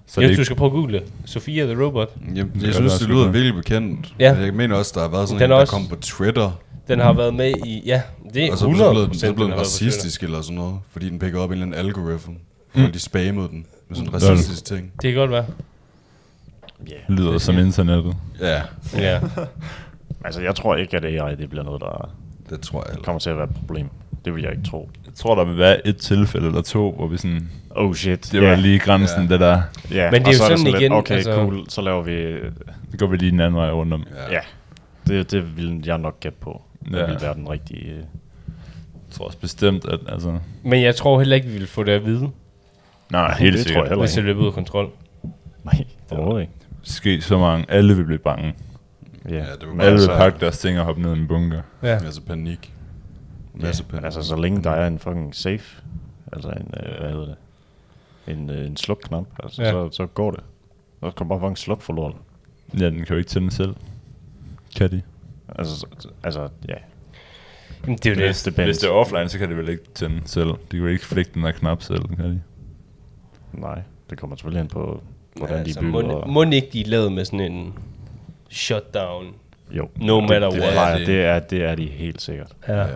så Så det jeg er synes, du ikke, skal prøve at google det. Sofia the Robot. Jamen, gør jeg synes, det det også lyder lidt. virkelig bekendt. Ja. Ja. Jeg mener også, der har været sådan Den en, er der også- kom på Twitter, Den har været med i, ja, det er og 100%. så blev den- så blev den den har været på racistisk eller sådan noget, fordi den pickede op en eller anden algoritme. Mm. Folk de spammede den med sådan en Lol. racistisk ting. Twitter. Det kan godt være. lyder som internettet. Ja, Ja. Altså, jeg tror ikke, at AI det bliver noget, der det tror jeg. heller. kommer til at være et problem. Det vil jeg ikke tro. Jeg tror, der vil være et tilfælde eller to, hvor vi sådan... Oh shit. Det var Ja. lige grænsen, Ja. det der. Ja, Men det er og jo så sådan igen, Lidt, okay, altså- altså... cool, så laver vi... øh, Det går vi lige den anden vej rundt om. Ja. Ja, det, det vil jeg nok gætte på. Det Ja. ja. vil være den rigtige... øh, Jeg tror også bestemt, at altså... Men jeg tror heller ikke, vi vil få det at vide, Nej, helt det sikkert. tror jeg heller hvis ikke. det løber ud af kontrol. Nej, overhovedet ikke. Ske så mange. Alle vil blive bange. Ja, det vil men være Alle Altså- vil pakke deres ting og hoppe ned i en bunker. Ja. Masse panik. Masse panik. Men altså, så længe der er en fucking safe, altså en, øh, hvad hedder det, en, øh, en slukknap, altså, Ja. ja. så, så går det. Så kan du bare fucking slukke for lortet. Ja, den kan jo ikke tænde selv. Kan de? Altså, så- altså ja. Jamen, det er jo det. Hvis, det det band. hvis det er offline, så kan det vel ikke tænde selv. De kan jo ikke flikke den der knap selv, kan de? Nej, det kommer selvfølgelig ind på, hvordan Ja, ja, de altså, Må, bygger. må ikke de er lavet med sådan en shutdown? jo, No matter det, det, what. plejer- Ja, det- det, er, det er de helt sikkert. Ja. Ja. Det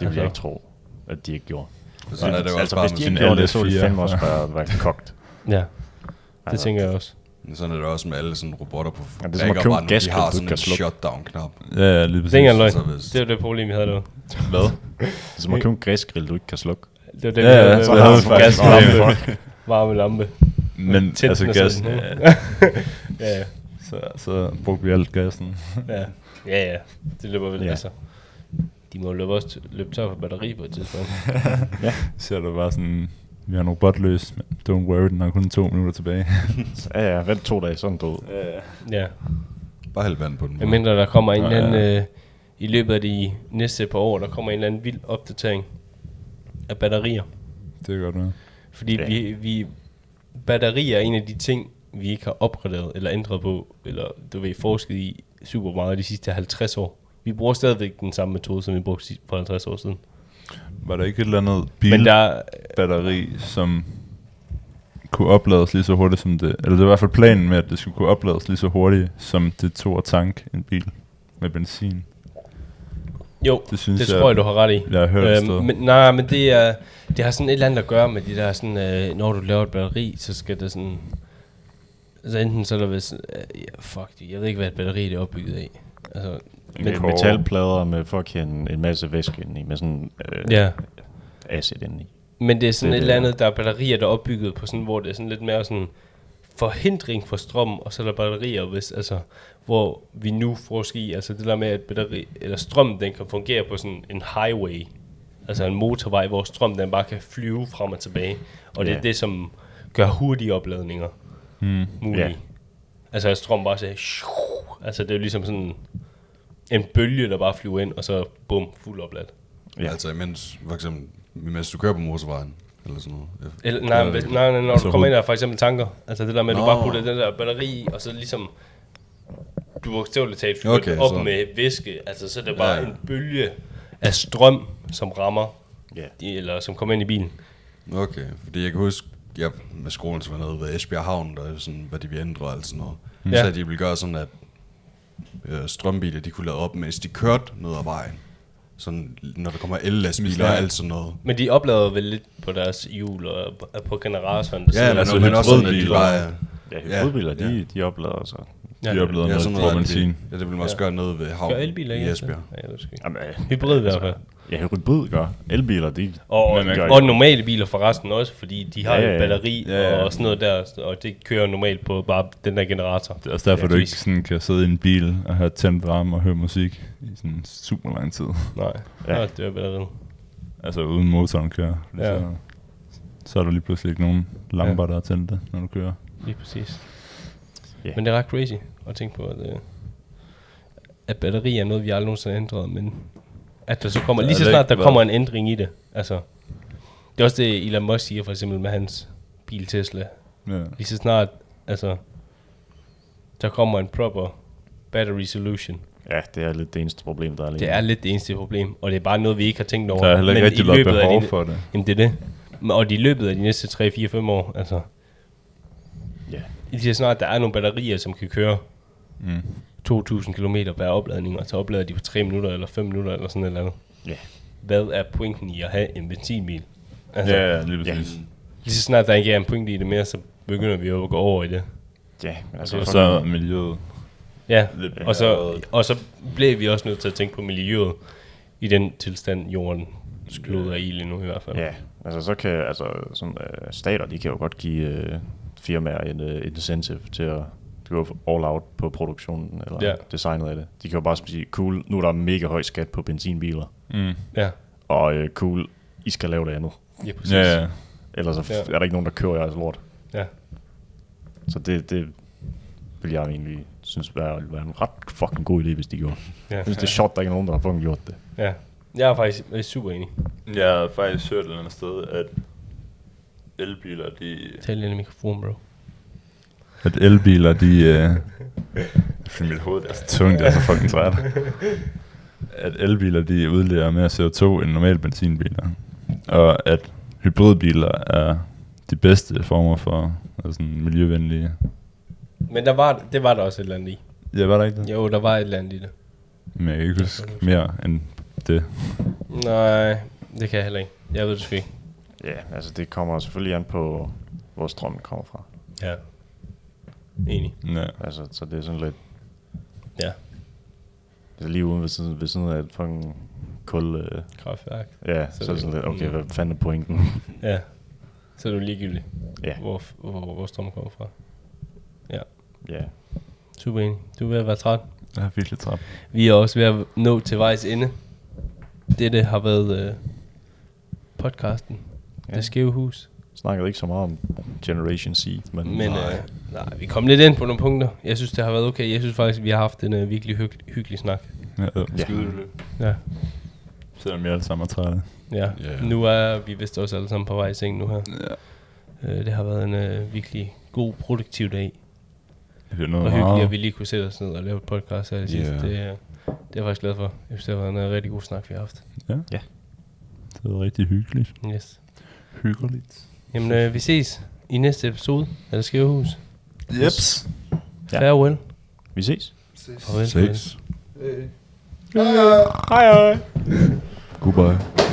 vil Altså. jeg ikke tro, at de ikke gjorde. Og Sådan er det jo også altså, bare hvis med de sådan- ikke gjorde alle det, så ville de fire. fandme også bare være kogt. ja. Det Altså. tænker jeg også. Men Sådan er det også med alle sådan robotter på Ja, det er som at fabrikker, købe bare en nu, de gasgrill, har du sådan kan en slukke. shutdown-knap. Ja, ja, lige Det er ikke præcis. engang løgn. Så hvis- Det var det problem, vi havde derude. Hvad? Så man købe en græsgrill, du ikke kan slukke. Det var det, vi Ja, havde ja, så havde vi varme, faktisk gaslampe, problemer. varme lampe. Men Tænd altså den og gas, sæt den ja, på. Ja, ja. så, så brugte vi alt gassen. ja. Ja, ja. Det løber vel Ja. ja. altså. De må jo løbe, også t- løbe tør for batteri på et tidspunkt. Så er det bare sådan, vi har en robot løs, men don't worry, den har kun to minutter tilbage. Så, ja, ja, vent to dage, sådan død. ja. Bare hælde vand på den. Men mindre der kommer en Nå, eller anden, ja. øh, i løbet af de næste par år, der kommer en eller anden vild opdatering af batterier. det er godt nok. Fordi Ja. ja. vi, vi, batterier er en af de ting, vi ikke har opgraderet eller ændret på, eller du ved, forsket i super meget de sidste 50 år. Vi bruger stadigvæk den samme metode, som vi brugte sidst- for 50 år siden. Var der ikke et eller andet Men der bilbatteri, er- som kunne oplades lige så hurtigt som det, eller det var i hvert fald planen med, at det skulle kunne oplades lige så hurtigt, som det tog at tanke en bil med benzin. jo, Det det, synes synes det jeg- tror jeg, du har ret i. Øhm, Jeg har hørt et sted. men, nej, men det, er, det har sådan et eller andet at gøre med de der sådan, øh, når du laver et batteri, så skal det sådan, så enten så er der vist, øh, ja, fuck det, jeg ved ikke, hvad et batteri det er opbygget af. Altså, Med kobber. metalplader med fucking en masse væske indeni, med sådan øh, ja. acid indeni. Men det er sådan Det det, er et det, eller ja. andet, der er batterier, der er opbygget på sådan, hvor det er sådan lidt mere sådan forhindring for strøm, og så er der batterier, hvis, altså, hvor vi nu forsker i, altså det der med, at batteri, eller strøm, den kan fungere på sådan en highway, altså en motorvej, hvor strøm, den bare kan flyve frem og tilbage, og det Ja. Hmm. er det, som gør hurtige opladninger mm. mulige. Ja. Altså at strøm bare siger, shoo, altså det er jo ligesom sådan en bølge, der bare flyver ind, og så bum, fuld opladt. Ja. Ja. Altså imens, for eksempel, imens du kører på motorvejen, eller sådan noget. Jeg- Eller, nej, jeg- hvis, nej, nej, når Altså du kommer hoved- ind der er for eksempel tanker. Altså det der med, at du Nå. bare putter den der batteri i, og så ligesom... Du bogstaveligt talt fylder Okay, okay, op så- så. med væske. Altså så er det bare Ja. ja. en bølge af strøm, som rammer, Ja. i- eller som kommer ind i bilen. Okay, fordi jeg kan huske, jeg med skolen, som var nede ved Esbjerg Havn, der er sådan, hvad de ville ændre og alt sådan noget. Mm. Ja. Så de ville gøre sådan, at øh, strømbiler, de kunne lade op, mens de kørte ned ad vejen. Sådan, når der kommer el-lastbiler og alt sådan noget. Men de oplader vel lidt på deres hjul og og på generatoren. der Ja, sidder- men, altså altså, men også sådan, at de hybridbiler. bare... Ja, hybridbiler, ja, de, de oplader sig. Ja, de oplevede Ja, noget, sådan noget noget. benzin. Ja, det ville man også gøre nede ved havnen Gør elbiler i ikke? også det? Esbjerg. Ja, jeg ved sgu ikke. Jamen, øh, Hybrid i hvert fald. ja, hybrid gør. Elbiler, de... Og, og, Men man kan- og normale biler forresten også, fordi de har Ja, ja, ja, ja. et batteri Ja, ja. og sådan noget der, og det kører normalt på bare den der generator. Det er også Altså, derfor, Ja, du de- ikke sådan kan sidde i en bil og have tændt varme og høre musik i sådan super lang tid. Nej, Ja. ja. Nå, det var batteriet. Altså uden motoren kører. Fordi Ja. Så, så er der lige pludselig ikke nogen lamper, ja. der er tændte, når du kører. Lige præcis. Ja. Yeah. Men det er ret crazy at tænke på, at, øh, at batteri er noget, vi aldrig nogensinde har ændret, men at der så kommer, Ja, lige så det er snart ikke der kommer en ændring i det, altså, det er også det, Elon Musk siger for eksempel med hans bil Tesla, Ja. lige så snart, altså, der kommer en proper battery solution. Ja, det er lidt det eneste problem, der er lige Det er lidt det eneste problem, og det er bare noget, vi ikke har tænkt over. Der er heller ikke men rigtig i noget løbet af behov de- for det. Jamen, det er det. Men- Og i løbet af de næste 3-4-5 år, altså, Ja. lige så snart der er nogle batterier, som kan køre Mm. 2.000 km per opladning, og så oplader de på 3 minutter eller 5 minutter eller sådan et eller andet. Ja. Hvad er pointen i at have en benzinbil? Altså, Ja, ja, lige præcis. Lige så snart der ikke er en pointe i det mere, så begynder vi jo at gå over i det. Ja, men altså... Og fuck, så er miljøet Ja, lidt mere... og så, og så blev vi også nødt til at tænke på miljøet i den tilstand, jorden skluder i lige nu i hvert fald. Ja, altså så kan altså, sådan, øh, stater, de kan jo godt give øh, firmaer en øh, incentive til at gå all out på produktionen eller Ja. yeah. designet af det. De kan jo bare sige, cool, nu er der mega høj skat på benzinbiler, Mm. ja. og øh, cool, I skal lave det andet. Ja, præcis. Ja, ja. Ellers så f- Ja. er der ikke nogen, der kører jeres lort. Ja. Så det, det vil jeg egentlig synes være, være en ret fucking god idé, hvis de gjorde. Ja. Jeg synes, det er sjovt, der ikke er nogen, der har fucking gjort det. ja. Jeg er faktisk øh, super enig. Jeg har faktisk hørt et eller andet sted, at elbiler, de... Tal ind i mikrofonen, bro. At elbiler, de... Øh, fordi mit hoved er så tungt, jeg er så fucking træt. At elbiler, de udleder mere CO2 end normale benzinbiler. Og at hybridbiler er de bedste former for altså, sådan miljøvenlige... Men der var, det var der også et eller andet i. Ja, var der ikke det? Jo, der var et eller andet i det. Men jeg kan ikke huske mere end det. Nej, det kan jeg heller ikke. Jeg ved det sgu ikke. Ja, altså det kommer selvfølgelig an på, hvor strømmen kommer fra. Ja. Enig. Ja. Altså, så det er sådan lidt... Ja. Det er lige uden ved siden, ved siden af et fucking kul... Øh, Kraftværk. ja, Så så, så er det sådan lidt, okay, mm. hvad fanden er pointen? Ja. Så er det jo ligegyldigt, ja, hvor, hvor, hvor strømmen kommer fra. ja. Super enig. Du er ved at være træt. Jeg er virkelig træt. Vi er også ved at nå til vejs ende. Dette har været øh, podcasten. Ja. Ja. Det skæve hus. Snakkede ikke så meget om Generation Z, men... Men Nej. nej. Øh, nej, vi kom lidt ind på nogle punkter. Jeg synes, det har været okay. Jeg synes faktisk, vi har haft en øh, virkelig hygg- hyggelig snak. Ja, Ja. Ja. Selvom jeg alle sammen er trætte. Ja, Ja. yeah. nu er vi vist også alle sammen på vej i seng nu her. Ja. Øh, det har været en øh, virkelig god, produktiv dag. Det er Og noget hyggeligt, at vi meget... lige kunne sætte os ned og lave et podcast her i sidste. Ja. Det, øh, det er jeg faktisk glad for. Jeg synes, det har været en øh, rigtig god snak, vi har haft. Det er rigtig hyggeligt. Yes. Hyggeligt. Jamen, øh, vi ses i næste episode af Det Skæve Hus. Jeps. Ja. Ja. Farewell. Vi ses. Farewell. Seks. Goodbye.